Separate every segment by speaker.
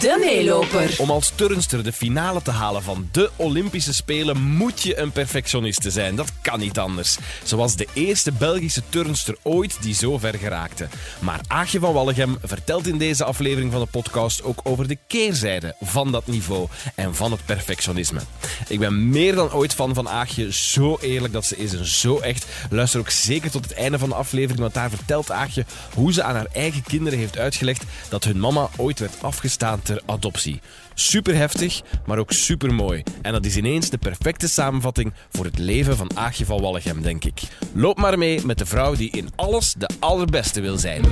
Speaker 1: De meeloper.
Speaker 2: Om als turnster de finale te halen van de Olympische Spelen moet je een perfectioniste zijn. Dat kan niet anders. Ze was de eerste Belgische turnster ooit die zo ver geraakte. Maar Aagje van Wallegem vertelt in deze aflevering van de podcast ook over de keerzijde van dat niveau en van het perfectionisme. Ik ben meer dan ooit fan van Aagje. Zo eerlijk dat ze is en zo echt. Luister ook zeker tot het einde van de aflevering, want daar vertelt Aagje hoe ze aan haar eigen kinderen heeft uitgelegd dat hun mama ooit werd afgestaan ter adoptie. Super heftig, maar ook super mooi. En dat is ineens de perfecte samenvatting voor het leven van Aagje van Wallegem, denk ik. Loop maar mee met de vrouw die in alles de allerbeste wil zijn.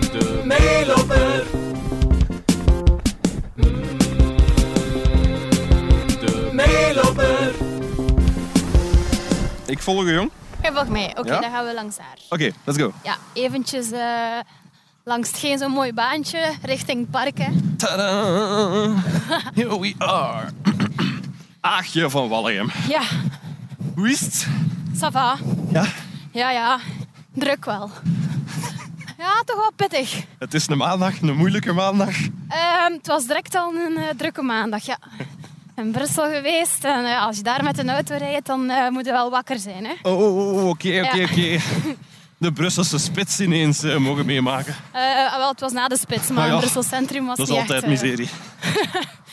Speaker 3: De meeloper. De meeloper. Ik volg je, jong.
Speaker 4: Jij volgt mij. Oké,
Speaker 3: Ja?
Speaker 4: dan gaan we langs daar.
Speaker 3: Oké, let's go.
Speaker 4: Ja, eventjes eh, langs hetgeen zo'n mooi baantje, richting parken.
Speaker 3: Tadaa. Here we are. Aagje van Wallegem.
Speaker 4: Ja,
Speaker 3: Hoe is het?
Speaker 4: ça va.
Speaker 3: Ja.
Speaker 4: Ja, ja. Druk wel. Ja, toch wel pittig.
Speaker 3: Het is een maandag, een moeilijke maandag.
Speaker 4: Ehm, het was direct al een eh, drukke maandag, ja. In Brussel geweest. En eh, als je daar met een auto rijdt, dan eh, moet je wel wakker zijn, hè.
Speaker 3: Oh, oh, oh, oké, oké,
Speaker 4: Ja.
Speaker 3: oké. De Brusselse spits ineens eh, mogen meemaken.
Speaker 4: Eh, ah, wel, het was na de spits, maar
Speaker 3: Ah, ja.
Speaker 4: in Brussel Centrum was
Speaker 3: Dat is
Speaker 4: niet echt,
Speaker 3: altijd
Speaker 4: eh,
Speaker 3: miserie.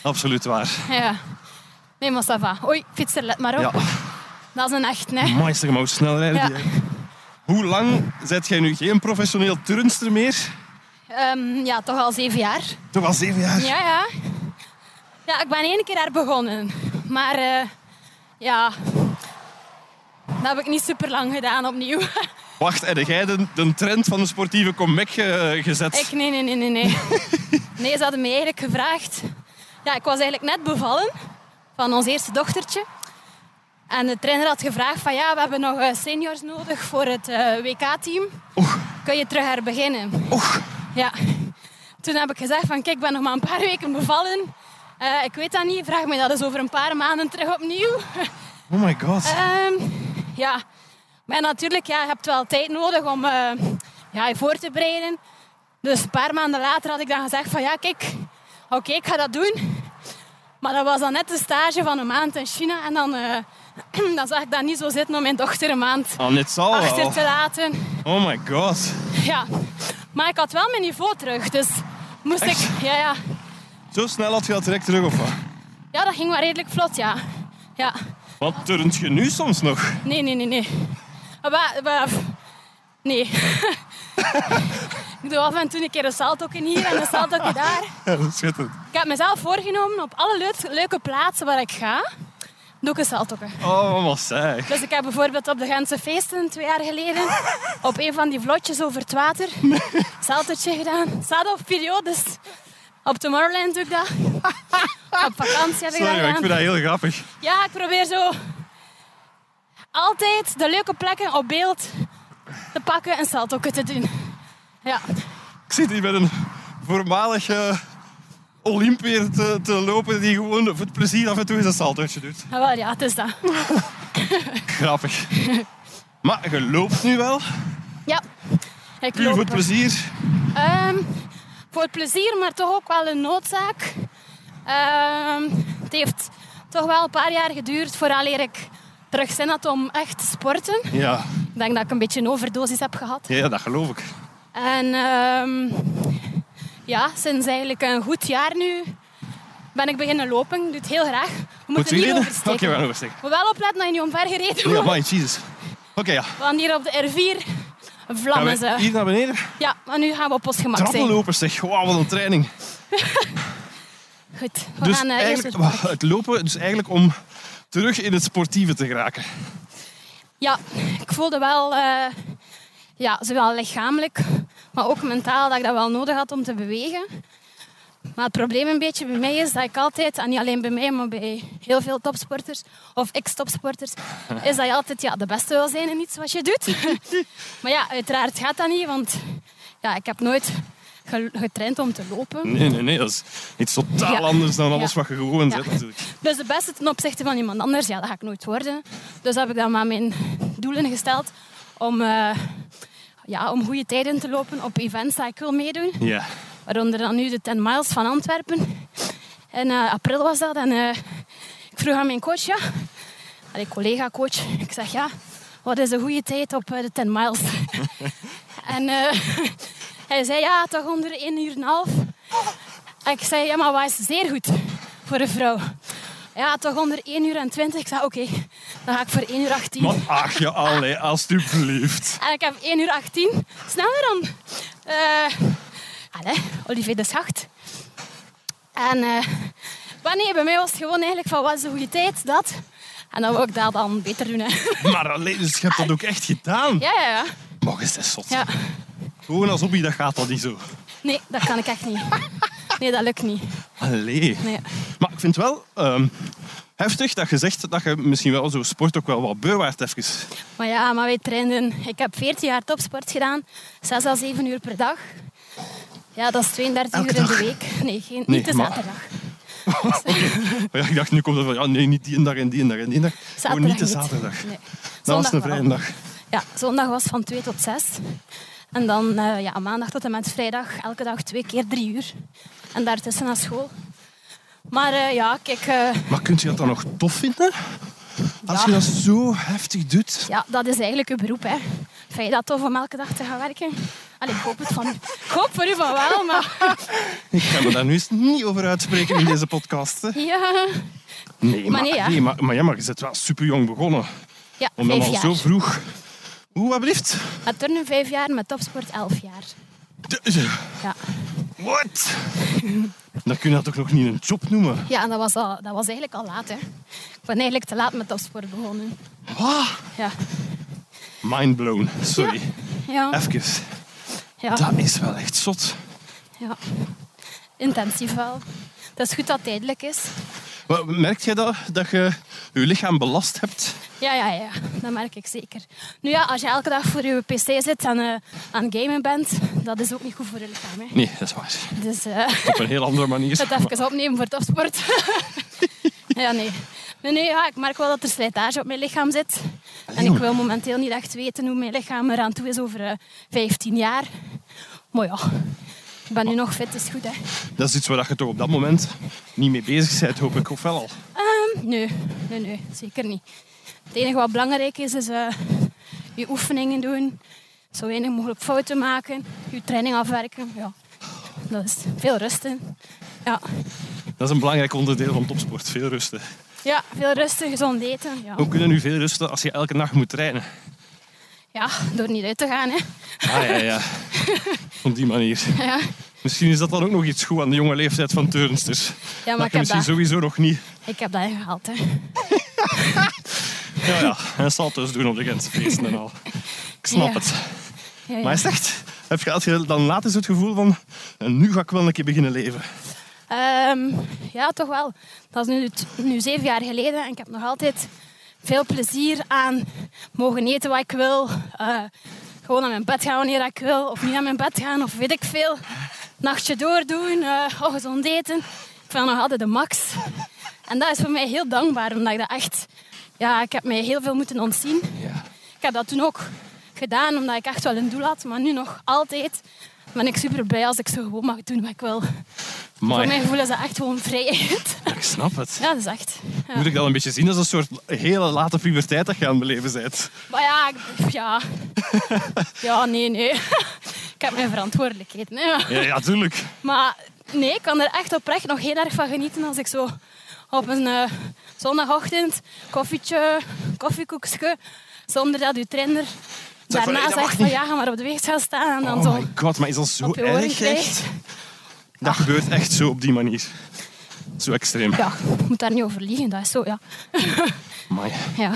Speaker 3: Absoluut waar.
Speaker 4: Ja. Nee, maar ça va. Oei, fietser, let maar op.
Speaker 3: Ja,
Speaker 4: Dat is een echt, hè.
Speaker 3: meester, maar hoe snel rijden die,
Speaker 4: Ja.
Speaker 3: hè. Hoe lang zijt jij nu geen professioneel turnster meer?
Speaker 4: Ehm, ja, toch al zeven jaar.
Speaker 3: Toch al zeven jaar?
Speaker 4: Ja, ja. Ja, ik ben één keer daar begonnen. Maar eh, ja, dat heb ik niet super lang gedaan opnieuw.
Speaker 3: Wacht, heb jij de, de trend van de sportieve comeback eh, gezet?
Speaker 4: Ik, nee, nee, nee, nee, nee. Nee, ze hadden me eigenlijk gevraagd. Ja, ik was eigenlijk net bevallen van ons eerste dochtertje. En de trainer had gevraagd van ja, we hebben nog eh, seniors nodig voor het eh, WK-team.
Speaker 3: Oeh.
Speaker 4: Kun je terug herbeginnen?
Speaker 3: Oeh.
Speaker 4: Ja. Toen heb ik gezegd van kijk, ik ben nog maar een paar weken bevallen. Eh, ik weet dat niet, vraag me dat eens over een paar maanden terug opnieuw.
Speaker 3: Oh my god.
Speaker 4: Ehm, ja, maar natuurlijk, ja, je hebt wel tijd nodig om eh, ja, je voor te bereiden. Dus een paar maanden later had ik dan gezegd van ja, kijk, oké, ik ga dat doen. Maar dat was dan net de stage van een maand in China. En dan, eh, dan zag ik dat niet zo zitten om mijn dochter een maand
Speaker 3: Ah, net zal wel.
Speaker 4: achter te laten.
Speaker 3: Oh my god.
Speaker 4: Ja. Maar ik had wel mijn niveau terug, dus moest
Speaker 3: Echt?
Speaker 4: ik... Ja, ja.
Speaker 3: Zo snel had je dat direct terug, of wat?
Speaker 4: ja, dat ging wel redelijk vlot, ja. Ja.
Speaker 3: Wat turnt je nu soms nog?
Speaker 4: Nee, nee, nee, nee. Ah, wa- wa- pff. Nee. ik doe af en toe een keer een saltoken hier en een saltoken daar.
Speaker 3: Ja, dat is schitterend.
Speaker 4: Ik heb mezelf voorgenomen op alle leuk- leuke plaatsen waar ik ga, doe ik een saltoken.
Speaker 3: Oh, wat zeg.
Speaker 4: Dus ik heb bijvoorbeeld op de Gentse feesten twee jaar geleden op een van die vlotjes over het water saltootje gedaan. Het staat op video, dus op Tomorrowland doe ik dat. Op vakantie heb ik
Speaker 3: Sorry,
Speaker 4: dat
Speaker 3: maar ik
Speaker 4: gedaan.
Speaker 3: vind dat heel grappig.
Speaker 4: Ja, ik probeer zo altijd de leuke plekken op beeld te pakken en saltokken te doen. Ja,
Speaker 3: Ik zit hier met een voormalig eh, Olympiër te, te lopen die gewoon voor het plezier af en toe eens een saltootje doet.
Speaker 4: ah, wel, ja, het is dat.
Speaker 3: Grappig. Maar je loopt nu wel,
Speaker 4: Ja, ik
Speaker 3: puur
Speaker 4: loop
Speaker 3: voor het
Speaker 4: er.
Speaker 3: plezier.
Speaker 4: Ehm, voor het plezier, maar toch ook wel een noodzaak. Ehm, het heeft toch wel een paar jaar geduurd vooraleer ik terug zin had om echt te sporten.
Speaker 3: Ja,
Speaker 4: Ik denk dat ik een beetje een overdosis heb gehad.
Speaker 3: ja dat geloof ik.
Speaker 4: En ehm, ja, sinds eigenlijk een goed jaar nu ben ik beginnen lopen. Ik doe het heel graag. We
Speaker 3: je
Speaker 4: moeten niet
Speaker 3: leren?
Speaker 4: oversteken.
Speaker 3: Oké, we gaan oversteken.
Speaker 4: We wel opletten dat je niet omver gereden
Speaker 3: Ja,
Speaker 4: wordt.
Speaker 3: my Jesus. Oké, ja.
Speaker 4: Want hier op de R4
Speaker 3: Gaan
Speaker 4: vlammen
Speaker 3: we
Speaker 4: ze.
Speaker 3: hier naar beneden?
Speaker 4: Ja, maar nu gaan we op ons gemak zijn.
Speaker 3: Trappelopers, zeg. Wauw, wat een training.
Speaker 4: Goed, we
Speaker 3: Dus
Speaker 4: gaan eh,
Speaker 3: eigenlijk,
Speaker 4: eerst...
Speaker 3: wauw, het lopen dus eigenlijk om terug in het sportieve te geraken.
Speaker 4: Ja, ik voelde wel... eh, ja, zowel lichamelijk, maar ook mentaal dat ik dat wel nodig had om te bewegen. Maar het probleem een beetje bij mij is dat ik altijd, en niet alleen bij mij, maar bij heel veel topsporters of ex-topsporters, is dat je altijd ja, de beste wil zijn in iets wat je doet. maar ja, uiteraard gaat dat niet, want ja, ik heb nooit ge- getraind om te lopen.
Speaker 3: Nee, nee, nee. Dat is iets totaal
Speaker 4: Ja.
Speaker 3: anders dan alles
Speaker 4: Ja.
Speaker 3: wat je gewoon
Speaker 4: Ja.
Speaker 3: zet natuurlijk.
Speaker 4: Dus de beste ten opzichte van iemand anders, ja, dat ga ik nooit worden. Dus heb ik dan maar mijn doelen gesteld om, eh, ja, om goede tijden te lopen op events dat ik wil meedoen.
Speaker 3: Ja.
Speaker 4: Waaronder dan nu de 10 miles van Antwerpen. En eh, april was dat. En eh, ik vroeg aan mijn coach, ja. Allee, collega-coach. Ik zeg, ja, wat is een goede tijd op eh, de 10 miles? en eh, hij zei, ja, toch onder 1 uur en een half. En ik zei, ja, maar wat is zeer goed voor een vrouw? Ja, toch onder 1 uur en 20. Ik zei, oké, dan ga ik voor 1 uur 18.
Speaker 3: Maar ach, ja, allee, alstublieft.
Speaker 4: En ik heb 1 uur 18. Sneller dan. Eh allee, Olivier de Schacht. En eh, maar nee, bij mij was het gewoon eigenlijk van wat is de goede tijd, dat. En dan wil ik dat dan beter doen. Hè.
Speaker 3: Maar alleen, dus je hebt dat ook echt gedaan.
Speaker 4: Ja, ja, ja,
Speaker 3: Mag eens, dat is zot.
Speaker 4: ja.
Speaker 3: Gewoon als hobby, dat gaat dat niet zo.
Speaker 4: Nee, dat kan ik echt niet. Nee, dat lukt niet.
Speaker 3: Allee.
Speaker 4: Nee.
Speaker 3: Maar ik vind het wel ehm, heftig dat je zegt dat je misschien wel zo'n sport ook wel wat beu waart even.
Speaker 4: Maar ja, maar wij trainen. Ik heb 14 jaar topsport gedaan. 6 à 7 uur per dag. Ja, dat is 32
Speaker 3: Elke
Speaker 4: uur in
Speaker 3: dag?
Speaker 4: de week. Nee, geen,
Speaker 3: Nee,
Speaker 4: niet de
Speaker 3: maar-
Speaker 4: zaterdag.
Speaker 3: Maar ja, ik dacht, nu komt dat van, ja, nee, niet die en dag en die en dag en die dag. Gewoon
Speaker 4: zaterdag
Speaker 3: niet de zaterdag.
Speaker 4: Nee.
Speaker 3: Dat was een
Speaker 4: wel.
Speaker 3: vrijdag.
Speaker 4: Ja, zondag was van 2 tot 6. En dan eh, ja, maandag tot en met vrijdag, elke dag twee keer drie uur. En daartussen naar school. Maar eh, ja, kijk, eh,
Speaker 3: Maar kunt je dat dan nog tof vinden? Als
Speaker 4: Ja.
Speaker 3: je dat zo heftig doet.
Speaker 4: ja, dat is eigenlijk uw beroep. Hè. Vind je dat tof om elke dag te gaan werken? Allee, ik hoop het van u. Ik hoop voor u van wel, maar
Speaker 3: Ik ga me daar nu eens niet over uitspreken in deze podcast. hè.
Speaker 4: ja.
Speaker 3: Nee, maar,
Speaker 4: nee, ja.
Speaker 3: nee, maar, maar ja, maar je bent wel super jong begonnen.
Speaker 4: Ja,
Speaker 3: Om dan
Speaker 4: vijf
Speaker 3: al
Speaker 4: jaar.
Speaker 3: zo vroeg. Hoe wat blieft?
Speaker 4: Met turnen vijf jaar, met topsport elf jaar. Ja,
Speaker 3: Wat? Dan kun je dat toch nog niet een job noemen?
Speaker 4: ja en dat was, al, dat was eigenlijk al laat. Hè. Ik ben eigenlijk te laat met topsport begonnen.
Speaker 3: Wat?
Speaker 4: Ja.
Speaker 3: Mind blown. Sorry.
Speaker 4: Ja.
Speaker 3: Even.
Speaker 4: Ja.
Speaker 3: Dat is wel echt zot.
Speaker 4: Ja, intensief wel. Dat is goed dat het tijdelijk is.
Speaker 3: Wat- Merk jij dat, dat je je lichaam belast hebt?
Speaker 4: Ja, ja, ja, dat merk ik zeker. Nu ja, als je elke dag voor je pc zit en eh, aan het gamen bent, dat is ook niet goed voor je lichaam. Hè.
Speaker 3: Nee, dat is waar.
Speaker 4: Dus eh
Speaker 3: Op een heel andere manier.
Speaker 4: het even opnemen voor topsport. ja, nee. Nee, nee ja, ik merk wel dat er slijtage op mijn lichaam zit. En ik
Speaker 3: jong.
Speaker 4: wil momenteel niet echt weten hoe mijn lichaam eraan toe is over eh, 15 jaar. Maar ja, ik ben nu nog fit, is goed hè.
Speaker 3: Dat is iets waar je toch op dat moment niet mee bezig bent, hoop ik. Of wel al.
Speaker 4: Ehm, Nee, nee, nee, zeker niet. Het enige wat belangrijk is, is eh, je oefeningen doen. Zo weinig mogelijk fouten maken. Je training afwerken. Ja. Dat is veel rusten. Ja,
Speaker 3: Dat is een belangrijk onderdeel van topsport. Veel rusten.
Speaker 4: ja veel rusten, gezond eten. Ja.
Speaker 3: Hoe kunnen nu veel rusten als je elke nacht moet trainen?
Speaker 4: ja, door niet uit te gaan. Hè.
Speaker 3: Ah ja, ja. Op die manier. Misschien is dat dan ook nog iets goed aan de jonge leeftijd van turnsters.
Speaker 4: Ja,
Speaker 3: dat
Speaker 4: maar ik
Speaker 3: je
Speaker 4: heb
Speaker 3: misschien
Speaker 4: dat,
Speaker 3: sowieso nog niet.
Speaker 4: ik heb dat ingehaald. Hè.
Speaker 3: Ja, ja. En salto's dus doen op de Gentse en al. Ik snap
Speaker 4: Ja.
Speaker 3: het.
Speaker 4: Ja, ja.
Speaker 3: Maar is het echt? Heb je, had je dan later zo het gevoel van... En nu ga ik wel een keer beginnen leven.
Speaker 4: Ehm, ja, toch wel. Dat is nu, nu zeven jaar geleden en ik heb nog altijd veel plezier aan mogen eten wat ik wil. Eh, gewoon naar mijn bed gaan wanneer ik wil, of niet naar mijn bed gaan, of weet ik veel. Nachtje doordoen, eh oh, gezond eten. Ik vind dat nog altijd de max. En dat is voor mij heel dankbaar, omdat ik dat echt... Ja, ik heb mij heel veel moeten ontzien.
Speaker 3: Ja.
Speaker 4: Ik heb dat toen ook gedaan, omdat ik echt wel een doel had. Maar nu nog altijd ben ik super blij als ik zo gewoon mag doen wat ik wil. Voor mijn
Speaker 3: Maar
Speaker 4: gevoel is dat echt gewoon vrijheid.
Speaker 3: ik snap het.
Speaker 4: Ja, dat is echt. Ja.
Speaker 3: Moet ik dat een beetje zien als een soort hele late puberteit dat je aan het beleven bent?
Speaker 4: Maar ja, ik- ja. Ja, nee, nee. Ik heb mijn verantwoordelijkheden. hè.
Speaker 3: Ja, ja, tuurlijk.
Speaker 4: Maar nee, ik kan er echt oprecht nog heel erg van genieten als ik zo op een eh, zondagochtend koffietje, koffiekoekje, zonder dat uw trainer
Speaker 3: Zeg van,
Speaker 4: daarna
Speaker 3: nee, dat mag
Speaker 4: zegt van
Speaker 3: niet.
Speaker 4: ja, ga maar op de weeg gaan staan en dan
Speaker 3: Oh
Speaker 4: zo.
Speaker 3: my god, maar is dat zo
Speaker 4: op je oren
Speaker 3: erg
Speaker 4: krijgt. Ah.
Speaker 3: echt? Dat gebeurt echt zo op die manier. Zo extreem.
Speaker 4: Ja, ik moet daar niet over liegen, dat is zo, ja.
Speaker 3: Amai.
Speaker 4: ja.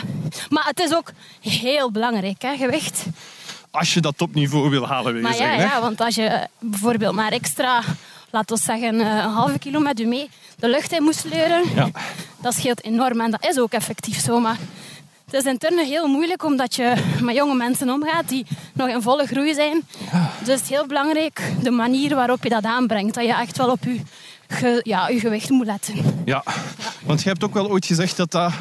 Speaker 4: Maar het is ook heel belangrijk, hè, gewicht.
Speaker 3: Als je dat topniveau wil halen, wil je
Speaker 4: Maar ja,
Speaker 3: zeggen. hè?
Speaker 4: ja, want als je eh, bijvoorbeeld maar extra, laten we zeggen, eh, een halve kilo met u mee de lucht in moest sleuren,
Speaker 3: Ja.
Speaker 4: dat scheelt enorm en dat is ook effectief zo. Maar het is in turnen heel moeilijk omdat je met jonge mensen omgaat die nog in volle groei zijn. Dus het is heel belangrijk de manier waarop je dat aanbrengt. Dat je echt wel op je, ge- ja, je gewicht moet letten.
Speaker 3: Ja. want je hebt ook wel ooit gezegd dat dat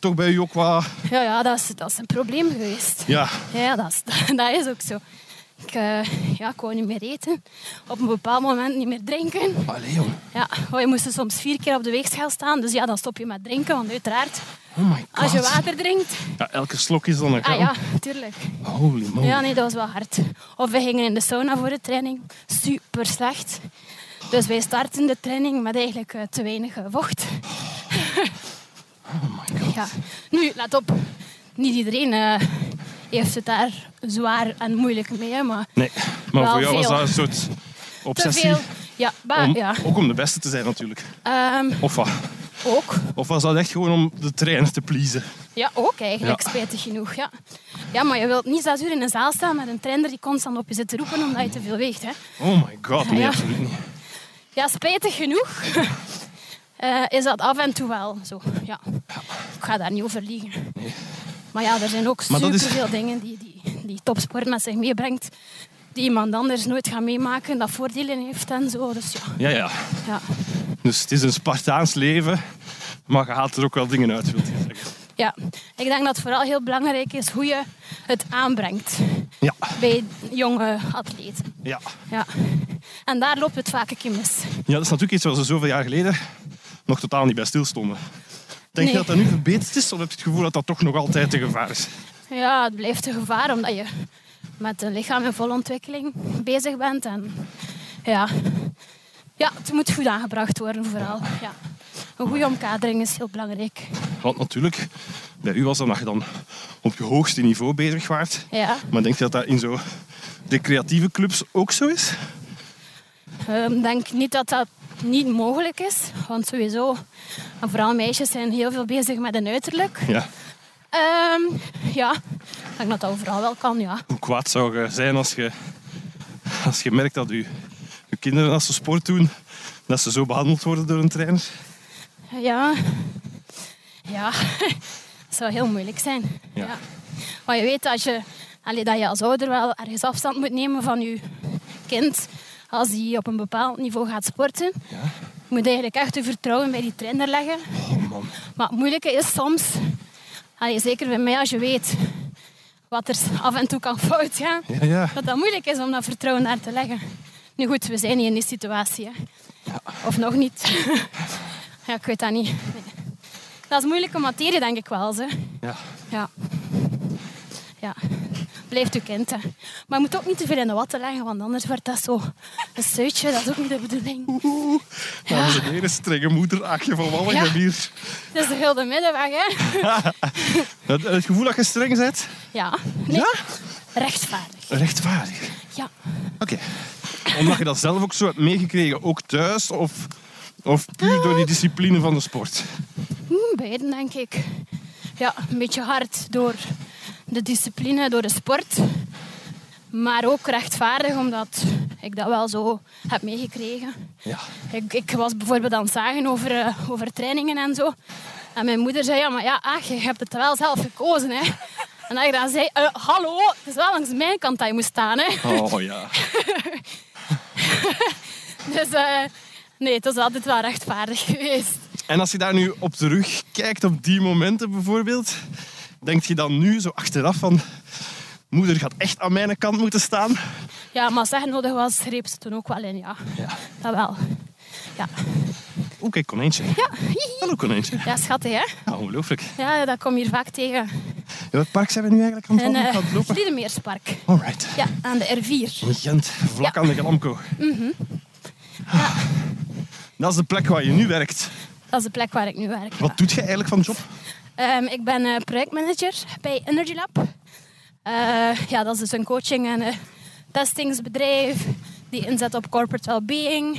Speaker 3: toch bij u ook wat...
Speaker 4: Ja, ja dat, is, dat is een probleem geweest.
Speaker 3: Ja,
Speaker 4: Ja, dat is, dat is ook zo. Ik, eh, ja, ik wou niet meer eten. Op een bepaald moment niet meer drinken.
Speaker 3: Allee, joh.
Speaker 4: Ja, oh, je moest dus soms vier keer op de weegschaal staan. Dus ja, dan stop je met drinken. Want uiteraard,
Speaker 3: Oh my god.
Speaker 4: als je water drinkt...
Speaker 3: Ja, elke slok is dan een
Speaker 4: Ah
Speaker 3: gram.
Speaker 4: ja, tuurlijk.
Speaker 3: Holy moly.
Speaker 4: Ja, nee, dat was wel hard. Of we gingen in de sauna voor de training. Super slecht. Dus wij starten de training met eigenlijk eh, te weinig eh, vocht.
Speaker 3: Oh my god.
Speaker 4: Ja. Nu, let op. Niet iedereen eh, heeft het daar zwaar en moeilijk mee. hè, Maar
Speaker 3: Nee, maar
Speaker 4: Wel
Speaker 3: voor jou was
Speaker 4: veel.
Speaker 3: dat een soort
Speaker 4: te
Speaker 3: obsessie.
Speaker 4: veel... Ja, bah,
Speaker 3: Om,
Speaker 4: ja.
Speaker 3: Ook om de beste te zijn natuurlijk.
Speaker 4: Ehm,
Speaker 3: Of wat?
Speaker 4: ook.
Speaker 3: Of was dat echt gewoon om de trainer te pleasen?
Speaker 4: Ja, ook eigenlijk,
Speaker 3: Ja.
Speaker 4: spijtig genoeg. Ja. ja, maar je wilt niet zes uur in een zaal staan met een trainer die constant op je zit te roepen omdat je te veel weegt. Hè.
Speaker 3: Oh my god, nee,
Speaker 4: Ja.
Speaker 3: absoluut niet.
Speaker 4: Ja, spijtig genoeg eh, is dat af en toe wel zo. Ja. Ik ga daar niet over liegen. Maar ja, er zijn ook
Speaker 3: Maar dat is-
Speaker 4: superveel dingen die, die, die topsport met zich meebrengt. Die iemand anders nooit gaat meemaken, dat voordelen heeft en zo. Dus ja,
Speaker 3: Ja, ja.
Speaker 4: ja.
Speaker 3: Dus het is een Spartaans leven, maar je haalt er ook wel dingen uit, wil je zeggen.
Speaker 4: ja. ik denk dat het vooral heel belangrijk is hoe je het aanbrengt
Speaker 3: Ja,
Speaker 4: bij jonge atleten.
Speaker 3: ja.
Speaker 4: Ja. En daar loopt het vaak een keer mis.
Speaker 3: Ja, dat is natuurlijk iets waar ze zoveel jaar geleden nog totaal niet bij stilstonden. Denk je
Speaker 4: Nee.
Speaker 3: dat dat nu verbeterd is, of heb je het gevoel dat dat toch nog altijd een gevaar is?
Speaker 4: Ja, het blijft een gevaar omdat je met een lichaam in volle ontwikkeling bezig bent. En ja. ja, het moet goed aangebracht worden vooral. Ja. Een goede omkadering is heel belangrijk.
Speaker 3: Want natuurlijk, bij u was dat dat je dan op je hoogste niveau bezig waart.
Speaker 4: Ja.
Speaker 3: Maar denk je dat dat in zo recreatieve clubs ook zo is?
Speaker 4: Ehm, Ik denk niet dat dat niet mogelijk is, want sowieso, en vooral meisjes zijn heel veel bezig met een uiterlijk.
Speaker 3: Ja.
Speaker 4: Ehm, ja, ik denk dat dat overal wel kan, ja.
Speaker 3: Hoe kwaad zou je zijn als je, als je merkt dat je, je kinderen als ze sport doen, dat ze zo behandeld worden door een trainer?
Speaker 4: Ja. Ja. Het zou heel moeilijk zijn.
Speaker 3: Ja.
Speaker 4: Ja. Want je weet dat je, allee, dat je als ouder wel ergens afstand moet nemen van je kind. Als die op een bepaald niveau gaat sporten.
Speaker 3: Ja.
Speaker 4: Je moet eigenlijk echt je vertrouwen bij die trainer leggen.
Speaker 3: Oh man.
Speaker 4: Maar het moeilijke is soms, allee, zeker bij mij als je weet wat er af en toe kan fout gaan.
Speaker 3: Ja, ja.
Speaker 4: Dat dat moeilijk is om dat vertrouwen daar te leggen. Nu goed, we zijn niet in die situatie. Hè. Of nog niet. ja, ik weet dat niet. Nee. Dat is moeilijke materie, denk ik wel. Ze.
Speaker 3: ja.
Speaker 4: Ja. Ja. Blijft uw kind. Hè. Maar je moet ook niet te veel in de watten leggen, want anders wordt dat zo een suitje. Dat is ook niet de bedoeling.
Speaker 3: Oeh, dames en heren, strenge moeder, achtje van Wallen,
Speaker 4: Ja.
Speaker 3: hier.
Speaker 4: Het is de gulden middenweg, hè?
Speaker 3: Het, het gevoel dat je streng bent,
Speaker 4: Ja. Nee.
Speaker 3: Ja?
Speaker 4: Rechtvaardig.
Speaker 3: rechtvaardig.
Speaker 4: Ja.
Speaker 3: Oké. Omdat je dat zelf ook zo hebt meegekregen, ook thuis of, of puur door die discipline van de sport?
Speaker 4: Hmm, Beiden, denk ik. Ja, een beetje hard door de discipline, door de sport. Maar ook rechtvaardig, omdat ik dat wel zo heb meegekregen.
Speaker 3: Ja.
Speaker 4: Ik, ik was bijvoorbeeld aan het zagen over, eh, over trainingen en zo. En mijn moeder zei, ja, maar ja, ach, je hebt het wel zelf gekozen, hè. En dat ik dan zei, eh, hallo, het is wel langs mijn kant dat je moet staan, hè.
Speaker 3: Oh ja.
Speaker 4: Dus eh, nee, het is altijd wel rechtvaardig geweest.
Speaker 3: En als je daar nu op terug kijkt, op die momenten bijvoorbeeld, denk je dan nu zo achteraf van... Moeder gaat echt aan mijn kant moeten staan.
Speaker 4: Ja, maar zeggen nodig was, greep ze toen ook wel in, ja.
Speaker 3: Ja.
Speaker 4: Dat wel. Ja.
Speaker 3: Oeh, kijk, konijntje.
Speaker 4: Ja, hihi.
Speaker 3: Hallo, konijntje.
Speaker 4: ja schattig hè?
Speaker 3: Ja, ongelooflijk.
Speaker 4: Ja, dat kom je hier vaak tegen.
Speaker 3: In welk park zijn we nu eigenlijk aan het
Speaker 4: In
Speaker 3: wandelen?
Speaker 4: eh
Speaker 3: Aan Oh, het lopen?
Speaker 4: Vliedemeerspark.
Speaker 3: Alright.
Speaker 4: Ja, aan de R4.
Speaker 3: In Gent, vlak
Speaker 4: Ja.
Speaker 3: aan de Glamco. Dat is de plek waar je nu werkt.
Speaker 4: Dat is de plek waar ik nu werk. ja.
Speaker 3: Wat doet je eigenlijk van job?
Speaker 4: Ehm, ik ben eh, projectmanager bij Energy Lab. Eh, ja, dat is dus een coaching- en eh, testingsbedrijf die inzet op corporate well-being.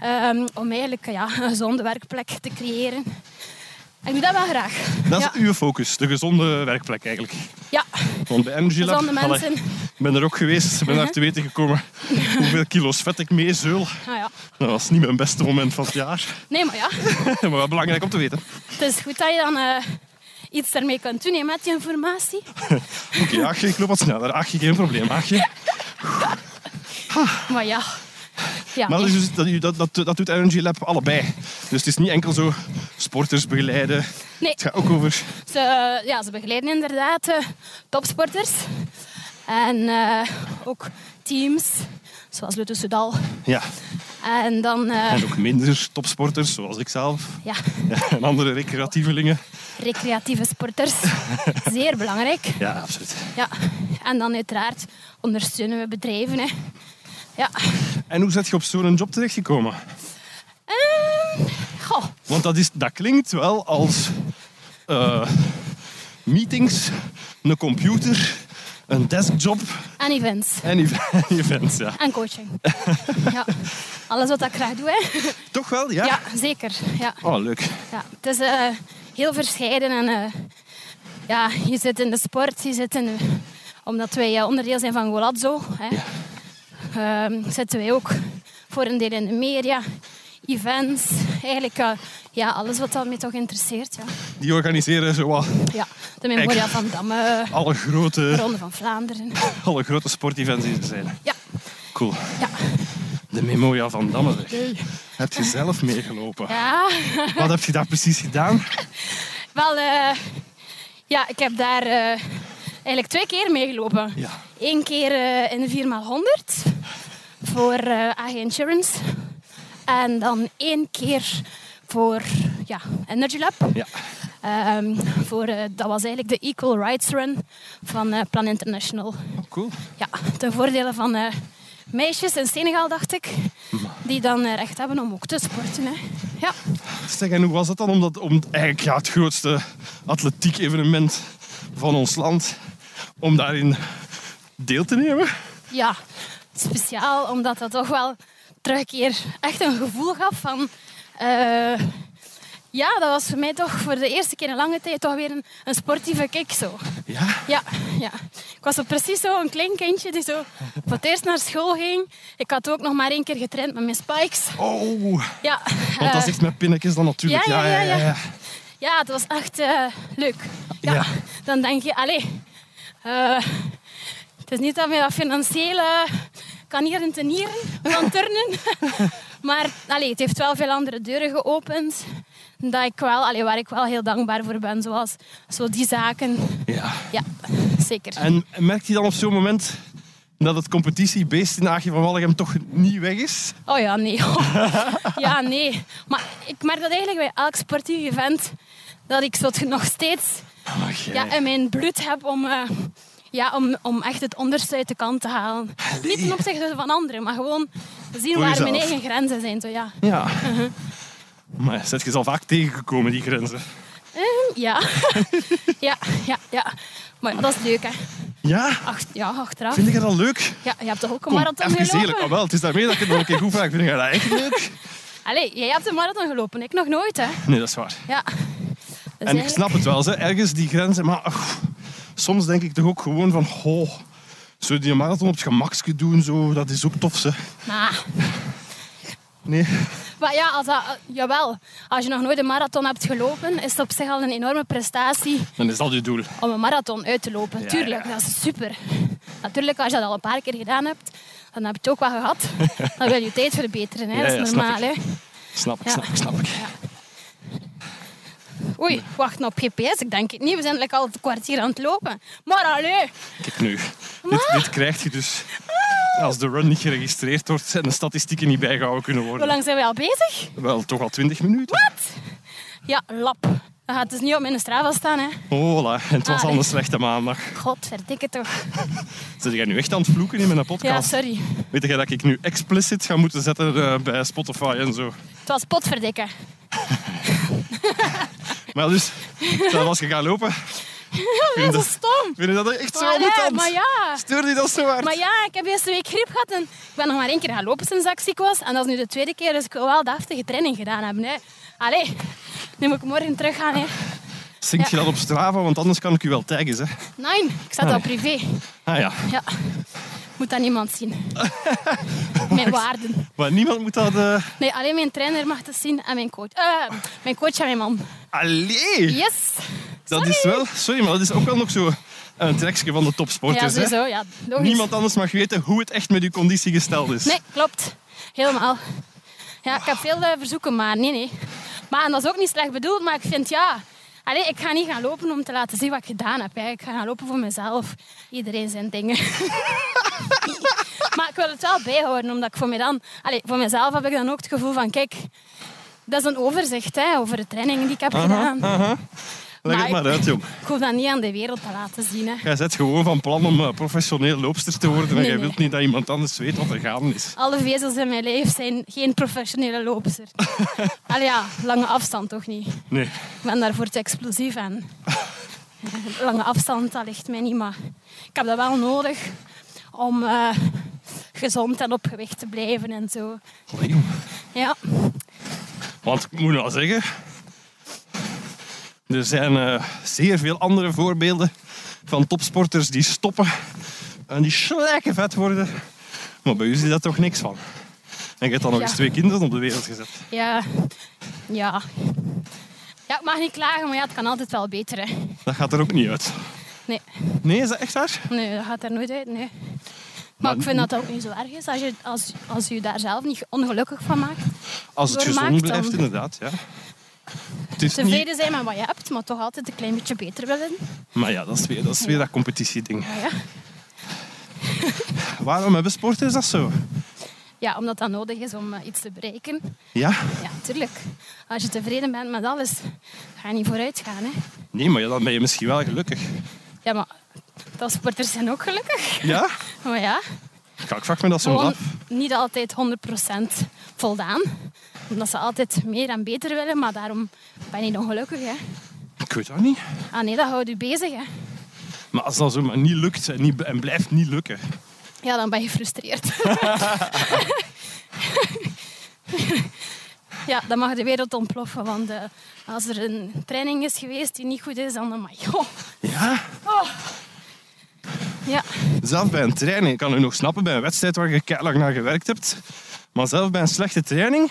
Speaker 4: Ehm, om eigenlijk eh, ja, een gezonde werkplek te creëren. Ik doe dat wel graag.
Speaker 3: Dat is
Speaker 4: ja.
Speaker 3: uw focus, de gezonde werkplek eigenlijk.
Speaker 4: ja,
Speaker 3: Want bij Energy Lab,
Speaker 4: gezonde
Speaker 3: allee,
Speaker 4: mensen. Uh-huh.
Speaker 3: ik ben er ook geweest, ik ben daar te weten gekomen hoeveel kilo's vet ik meezeul.
Speaker 4: Ah, ja.
Speaker 3: Dat was niet mijn beste moment van het jaar,
Speaker 4: Nee, maar ja.
Speaker 3: maar wel belangrijk om te weten.
Speaker 4: Het is goed dat je dan eh, iets daarmee kunt doen hè, met die informatie.
Speaker 3: Oké, Aagje, ik loop wat sneller. Aagje, geen probleem, Aagje.
Speaker 4: Maar ja. ja.
Speaker 3: Maar dat, is dus- dat, dat, dat, dat doet Energy Lab allebei. Dus het is niet enkel zo sporters begeleiden.
Speaker 4: nee,
Speaker 3: Het gaat ook over...
Speaker 4: ze, ja, ze begeleiden inderdaad eh, topsporters. En eh, ook teams, zoals Lutte Soudal.
Speaker 3: Ja.
Speaker 4: En dan eh,
Speaker 3: En ook minder topsporters, zoals ik zelf.
Speaker 4: ja,
Speaker 3: Ja, en andere recreatievelingen.
Speaker 4: recreatieve sporters. Zeer belangrijk.
Speaker 3: Ja, absoluut.
Speaker 4: Ja. En dan uiteraard ondersteunen we bedrijven. Hè. Ja.
Speaker 3: En hoe zet je op zo'n job terechtgekomen?
Speaker 4: Ehm, goh,
Speaker 3: Want dat, is, dat klinkt wel als eh, meetings, een computer, een deskjob
Speaker 4: en events.
Speaker 3: en ev- events. Ja.
Speaker 4: En coaching. Ja. Alles wat ik graag doe. Hè.
Speaker 3: Toch wel, ja?
Speaker 4: Ja, zeker. Ja.
Speaker 3: Oh, leuk.
Speaker 4: Ja, het is eh, heel verscheiden. En, eh, ja, je zit in de sport, je zit in de- omdat wij eh, onderdeel zijn van Golazzo, hè, ehm, zitten wij ook voor een deel in de media, events, eigenlijk eh, ja, alles wat dat mij toch interesseert. Ja,
Speaker 3: Die organiseren zo wat
Speaker 4: ja de Memoria
Speaker 3: Ik-
Speaker 4: van Damme,
Speaker 3: alle grote,
Speaker 4: Ronde van Vlaanderen.
Speaker 3: alle grote sportevents die er zijn.
Speaker 4: Ja,
Speaker 3: Cool.
Speaker 4: ja,
Speaker 3: De Memoria van Damme. zeg. Heb je zelf meegelopen?
Speaker 4: ja.
Speaker 3: Wat heb je daar precies gedaan?
Speaker 4: Wel, eh, ja, ik heb daar eh, eigenlijk twee keer meegelopen.
Speaker 3: Ja.
Speaker 4: Eén keer eh, in de 4x100 voor eh, AG Insurance. En dan één keer voor ja, Energy Lab.
Speaker 3: Ja.
Speaker 4: Ehm, voor, eh, dat was eigenlijk de Equal Rights Run van eh, Plan International.
Speaker 3: Oh, cool.
Speaker 4: Ja, ten voordele van eh, meisjes in Senegal, dacht ik. Die dan eh, recht hebben om ook te sporten. Hè. Ja.
Speaker 3: Zeg, en hoe was dat dan om, dat, om eigenlijk, ja, het grootste atletiek evenement van ons land, om daarin deel te nemen?
Speaker 4: ja, speciaal omdat dat toch wel terugkeer echt een gevoel gaf van. eh, ja, dat was voor mij toch voor de eerste keer in lange tijd toch weer een, een sportieve kick zo.
Speaker 3: Ja.
Speaker 4: Ja, ja. Ik was zo precies zo een klein kindje die zo voor het eerst naar school ging. Ik had ook nog maar één keer getraind met mijn spikes.
Speaker 3: Oh,
Speaker 4: Ja,
Speaker 3: want dat
Speaker 4: eh,
Speaker 3: zit met pinnetjes dan natuurlijk.
Speaker 4: ja, ja, ja,
Speaker 3: ja.
Speaker 4: ja het was echt eh, leuk. Ja,
Speaker 3: Ja.
Speaker 4: Dan denk je, allee, eh, het is niet dat we dat financieel eh, kan hier en tenieren van turnen. maar allee, het heeft wel veel andere deuren geopend. Dat ik wel, allee, waar ik wel heel dankbaar voor ben, zoals zo die zaken.
Speaker 3: Ja.
Speaker 4: Ja, zeker.
Speaker 3: En merkt je dan op zo'n moment dat het competitiebeest in Aagje van Wallegem toch niet weg is?
Speaker 4: Oh ja, nee. ja, nee. Maar ik merk dat eigenlijk bij elk sportief event, dat ik zo t- nog steeds
Speaker 3: Ach, jij.
Speaker 4: ja, in mijn bloed heb om, eh, ja, om, om echt het onderste uit de kant te halen. Niet ten opzichte van anderen, maar gewoon zien
Speaker 3: Voor
Speaker 4: waar
Speaker 3: jezelf.
Speaker 4: mijn eigen grenzen zijn. Zo, ja.
Speaker 3: Ja.
Speaker 4: Uh-huh.
Speaker 3: Maar zet je ze al vaak tegengekomen, die grenzen?
Speaker 4: Ehm, ja. ja, ja, ja. Maar ja, dat is leuk, hè.
Speaker 3: Ja?
Speaker 4: Ach, ja, achteraf.
Speaker 3: Vind ik dat leuk?
Speaker 4: Ja, je hebt toch ook een
Speaker 3: Kom,
Speaker 4: marathon
Speaker 3: even
Speaker 4: gelopen?
Speaker 3: eerlijk. Ah, wel, het is daarmee dat ik het nog een keer goed vraag. Vind je dat echt leuk?
Speaker 4: Allee, jij hebt een marathon gelopen, ik nog nooit, hè.
Speaker 3: Nee, dat is waar.
Speaker 4: Ja. Dus
Speaker 3: en
Speaker 4: eigenlijk-
Speaker 3: ik snap het wel, ze, ergens die grenzen. Maar ach, soms denk ik toch ook gewoon van... Goh, zullen die een marathon op het gemakske doen? Zo, dat is ook tof, ze.
Speaker 4: Maar-
Speaker 3: Nee.
Speaker 4: Ah. Maar ja, als dat, jawel. Als je nog nooit een marathon hebt gelopen, is het op zich al een enorme prestatie
Speaker 3: Dan is dat je doel.
Speaker 4: om een marathon uit te lopen.
Speaker 3: Ja,
Speaker 4: Tuurlijk,
Speaker 3: ja.
Speaker 4: dat is super. Natuurlijk, als je dat al een paar keer gedaan hebt, dan heb je het ook wel gehad. Dan wil je tijd verbeteren, hè.
Speaker 3: Ja,
Speaker 4: dat
Speaker 3: ja,
Speaker 4: is
Speaker 3: snap
Speaker 4: normaal. Hè.
Speaker 3: ik. Snap ik,
Speaker 4: Ja.
Speaker 3: snap ik, snap ik.
Speaker 4: Oei, wacht nou op GPS, ik denk het niet. We zijn like, al het kwartier aan het lopen. Maar allee,
Speaker 3: Kijk nu, dit, dit krijg je dus... Als de run niet geregistreerd wordt en de statistieken niet bijgehouden kunnen
Speaker 4: hoe
Speaker 3: worden.
Speaker 4: lang zijn we al bezig?
Speaker 3: Wel, toch al 20 minuten.
Speaker 4: Ja, lap. Dat gaat dus niet op mijn Strava staan, hè.
Speaker 3: Hola, en het was al
Speaker 4: Allee.
Speaker 3: een slechte maandag.
Speaker 4: Godverdikke toch.
Speaker 3: Zit jij nu echt aan het vloeken in mijn
Speaker 4: Ja,
Speaker 3: podcast?
Speaker 4: sorry.
Speaker 3: Weet jij dat ik nu explicit ga moeten zetten eh, bij Spotify en zo?
Speaker 4: Het was potverdikke.
Speaker 3: Maar dus, zelfs als je gaat lopen,
Speaker 4: Dat is zo stom.
Speaker 3: vind je dat echt zo
Speaker 4: Allee,
Speaker 3: irritant?
Speaker 4: maar ja.
Speaker 3: Stuur die dat zo hard?
Speaker 4: Maar ja, ik heb eerste week griep gehad en ik ben nog maar één keer gaan lopen sinds dat ik ziek was. En dat is nu de tweede keer, dus ik wil wel de heftige training gedaan hebben. Hè. Allee, nu moet ik morgen terug gaan. Hè.
Speaker 3: Zink je
Speaker 4: ja.
Speaker 3: dat op Strava, want anders kan ik u wel taggen, hè?
Speaker 4: Nee, ik zat al privé.
Speaker 3: Ah ja.
Speaker 4: Ja, moet dat niemand zien. Mijn waarden.
Speaker 3: Maar niemand moet dat... eh,
Speaker 4: Nee, alleen mijn trainer mag dat zien en mijn coach. Eh, mijn coach en mijn man.
Speaker 3: Allee!
Speaker 4: Yes!
Speaker 3: dat is wel... Sorry, maar dat is ook wel nog zo een trekje van de
Speaker 4: Ja,
Speaker 3: topsporters, hè?
Speaker 4: sowieso. Ja, logisch.
Speaker 3: Niemand anders mag weten hoe het echt met uw conditie gesteld is.
Speaker 4: Nee, klopt. Helemaal. Ja, ik heb veel eh, verzoeken, maar nee, nee. Maar en dat is ook niet slecht bedoeld, maar ik vind ja. Allee, ik ga niet gaan lopen om te laten zien wat ik gedaan heb. Hè. Ik ga gaan lopen voor mezelf. Iedereen zijn dingen. maar ik wil het wel bijhouden, omdat ik voor, mij dan, allee, voor mezelf heb ik dan ook het gevoel van... Kijk, dat is een overzicht hè, over de trainingen die ik heb gedaan.
Speaker 3: Leg
Speaker 4: Maar
Speaker 3: het maar
Speaker 4: ik-
Speaker 3: uit, jong.
Speaker 4: Ik hoef dat niet aan de wereld te laten zien. Hè.
Speaker 3: Jij zet gewoon van plan om eh, professioneel loopster te worden en
Speaker 4: Nee,
Speaker 3: jij
Speaker 4: nee.
Speaker 3: wilt niet dat iemand anders weet wat er gaande is.
Speaker 4: Alle vezels in mijn lijf zijn geen professionele loopster. Allee, ja, lange afstand toch niet.
Speaker 3: Nee.
Speaker 4: Ik ben daarvoor te explosief aan. Lange afstand, dat ligt mij niet, maar ik heb dat wel nodig om eh, gezond en op gewicht te blijven en zo.
Speaker 3: Allee, jong.
Speaker 4: Ja,
Speaker 3: Want ik moet wel zeggen, er zijn eh, zeer veel andere voorbeelden van topsporters die stoppen en die slijken vet worden. Maar bij u is dat toch niks van. En je hebt dan nog
Speaker 4: Ja.
Speaker 3: eens twee kinderen op de wereld gezet.
Speaker 4: ja, ja. Ja, ik mag niet klagen, maar ja, het kan altijd wel beter. Hè.
Speaker 3: Dat gaat er ook niet uit.
Speaker 4: Nee,
Speaker 3: Nee, is dat echt waar?
Speaker 4: nee, dat gaat er nooit uit. Nee. Maar
Speaker 3: Maar-
Speaker 4: ik vind dat dat ook niet zo erg is als je, als, als je daar zelf niet ongelukkig van maakt.
Speaker 3: Als het
Speaker 4: Door
Speaker 3: gezond
Speaker 4: maakt
Speaker 3: blijft,
Speaker 4: dan.
Speaker 3: inderdaad. Ja. Het is niet...
Speaker 4: Tevreden zijn met wat je hebt, maar toch altijd een klein beetje beter willen.
Speaker 3: Maar ja, dat is weer dat, is weer dat competitieding.
Speaker 4: Ja, ja.
Speaker 3: Waarom hebben sporters dat zo?
Speaker 4: ja, omdat dat nodig is om eh, iets te bereiken.
Speaker 3: Ja?
Speaker 4: Ja, tuurlijk. Als je tevreden bent met alles, ga je niet vooruit gaan. Hè?
Speaker 3: Nee, maar ja, dan ben je misschien wel gelukkig.
Speaker 4: Ja, maar topsporters zijn ook gelukkig.
Speaker 3: Ja?
Speaker 4: Maar ja,
Speaker 3: Ja, ik vraag me dat soms
Speaker 4: gewoon
Speaker 3: af.
Speaker 4: niet altijd 100% voldaan. Omdat ze altijd meer en beter willen, maar daarom ben je niet ongelukkig. Hè?
Speaker 3: Ik weet dat niet.
Speaker 4: Ah nee, dat houdt je bezig. Hè?
Speaker 3: Maar als dat zomaar niet lukt en, niet, en blijft niet lukken.
Speaker 4: Ja, dan ben je gefrustreerd. ja, dan mag de wereld ontploffen. Want eh, als er een training is geweest die niet goed is, dan... Amai, joh.
Speaker 3: Ja?
Speaker 4: Oh. Ja,
Speaker 3: Zelf bij een training. Ik kan u nog snappen bij een wedstrijd waar je lang naar gewerkt hebt. Maar zelf bij een slechte training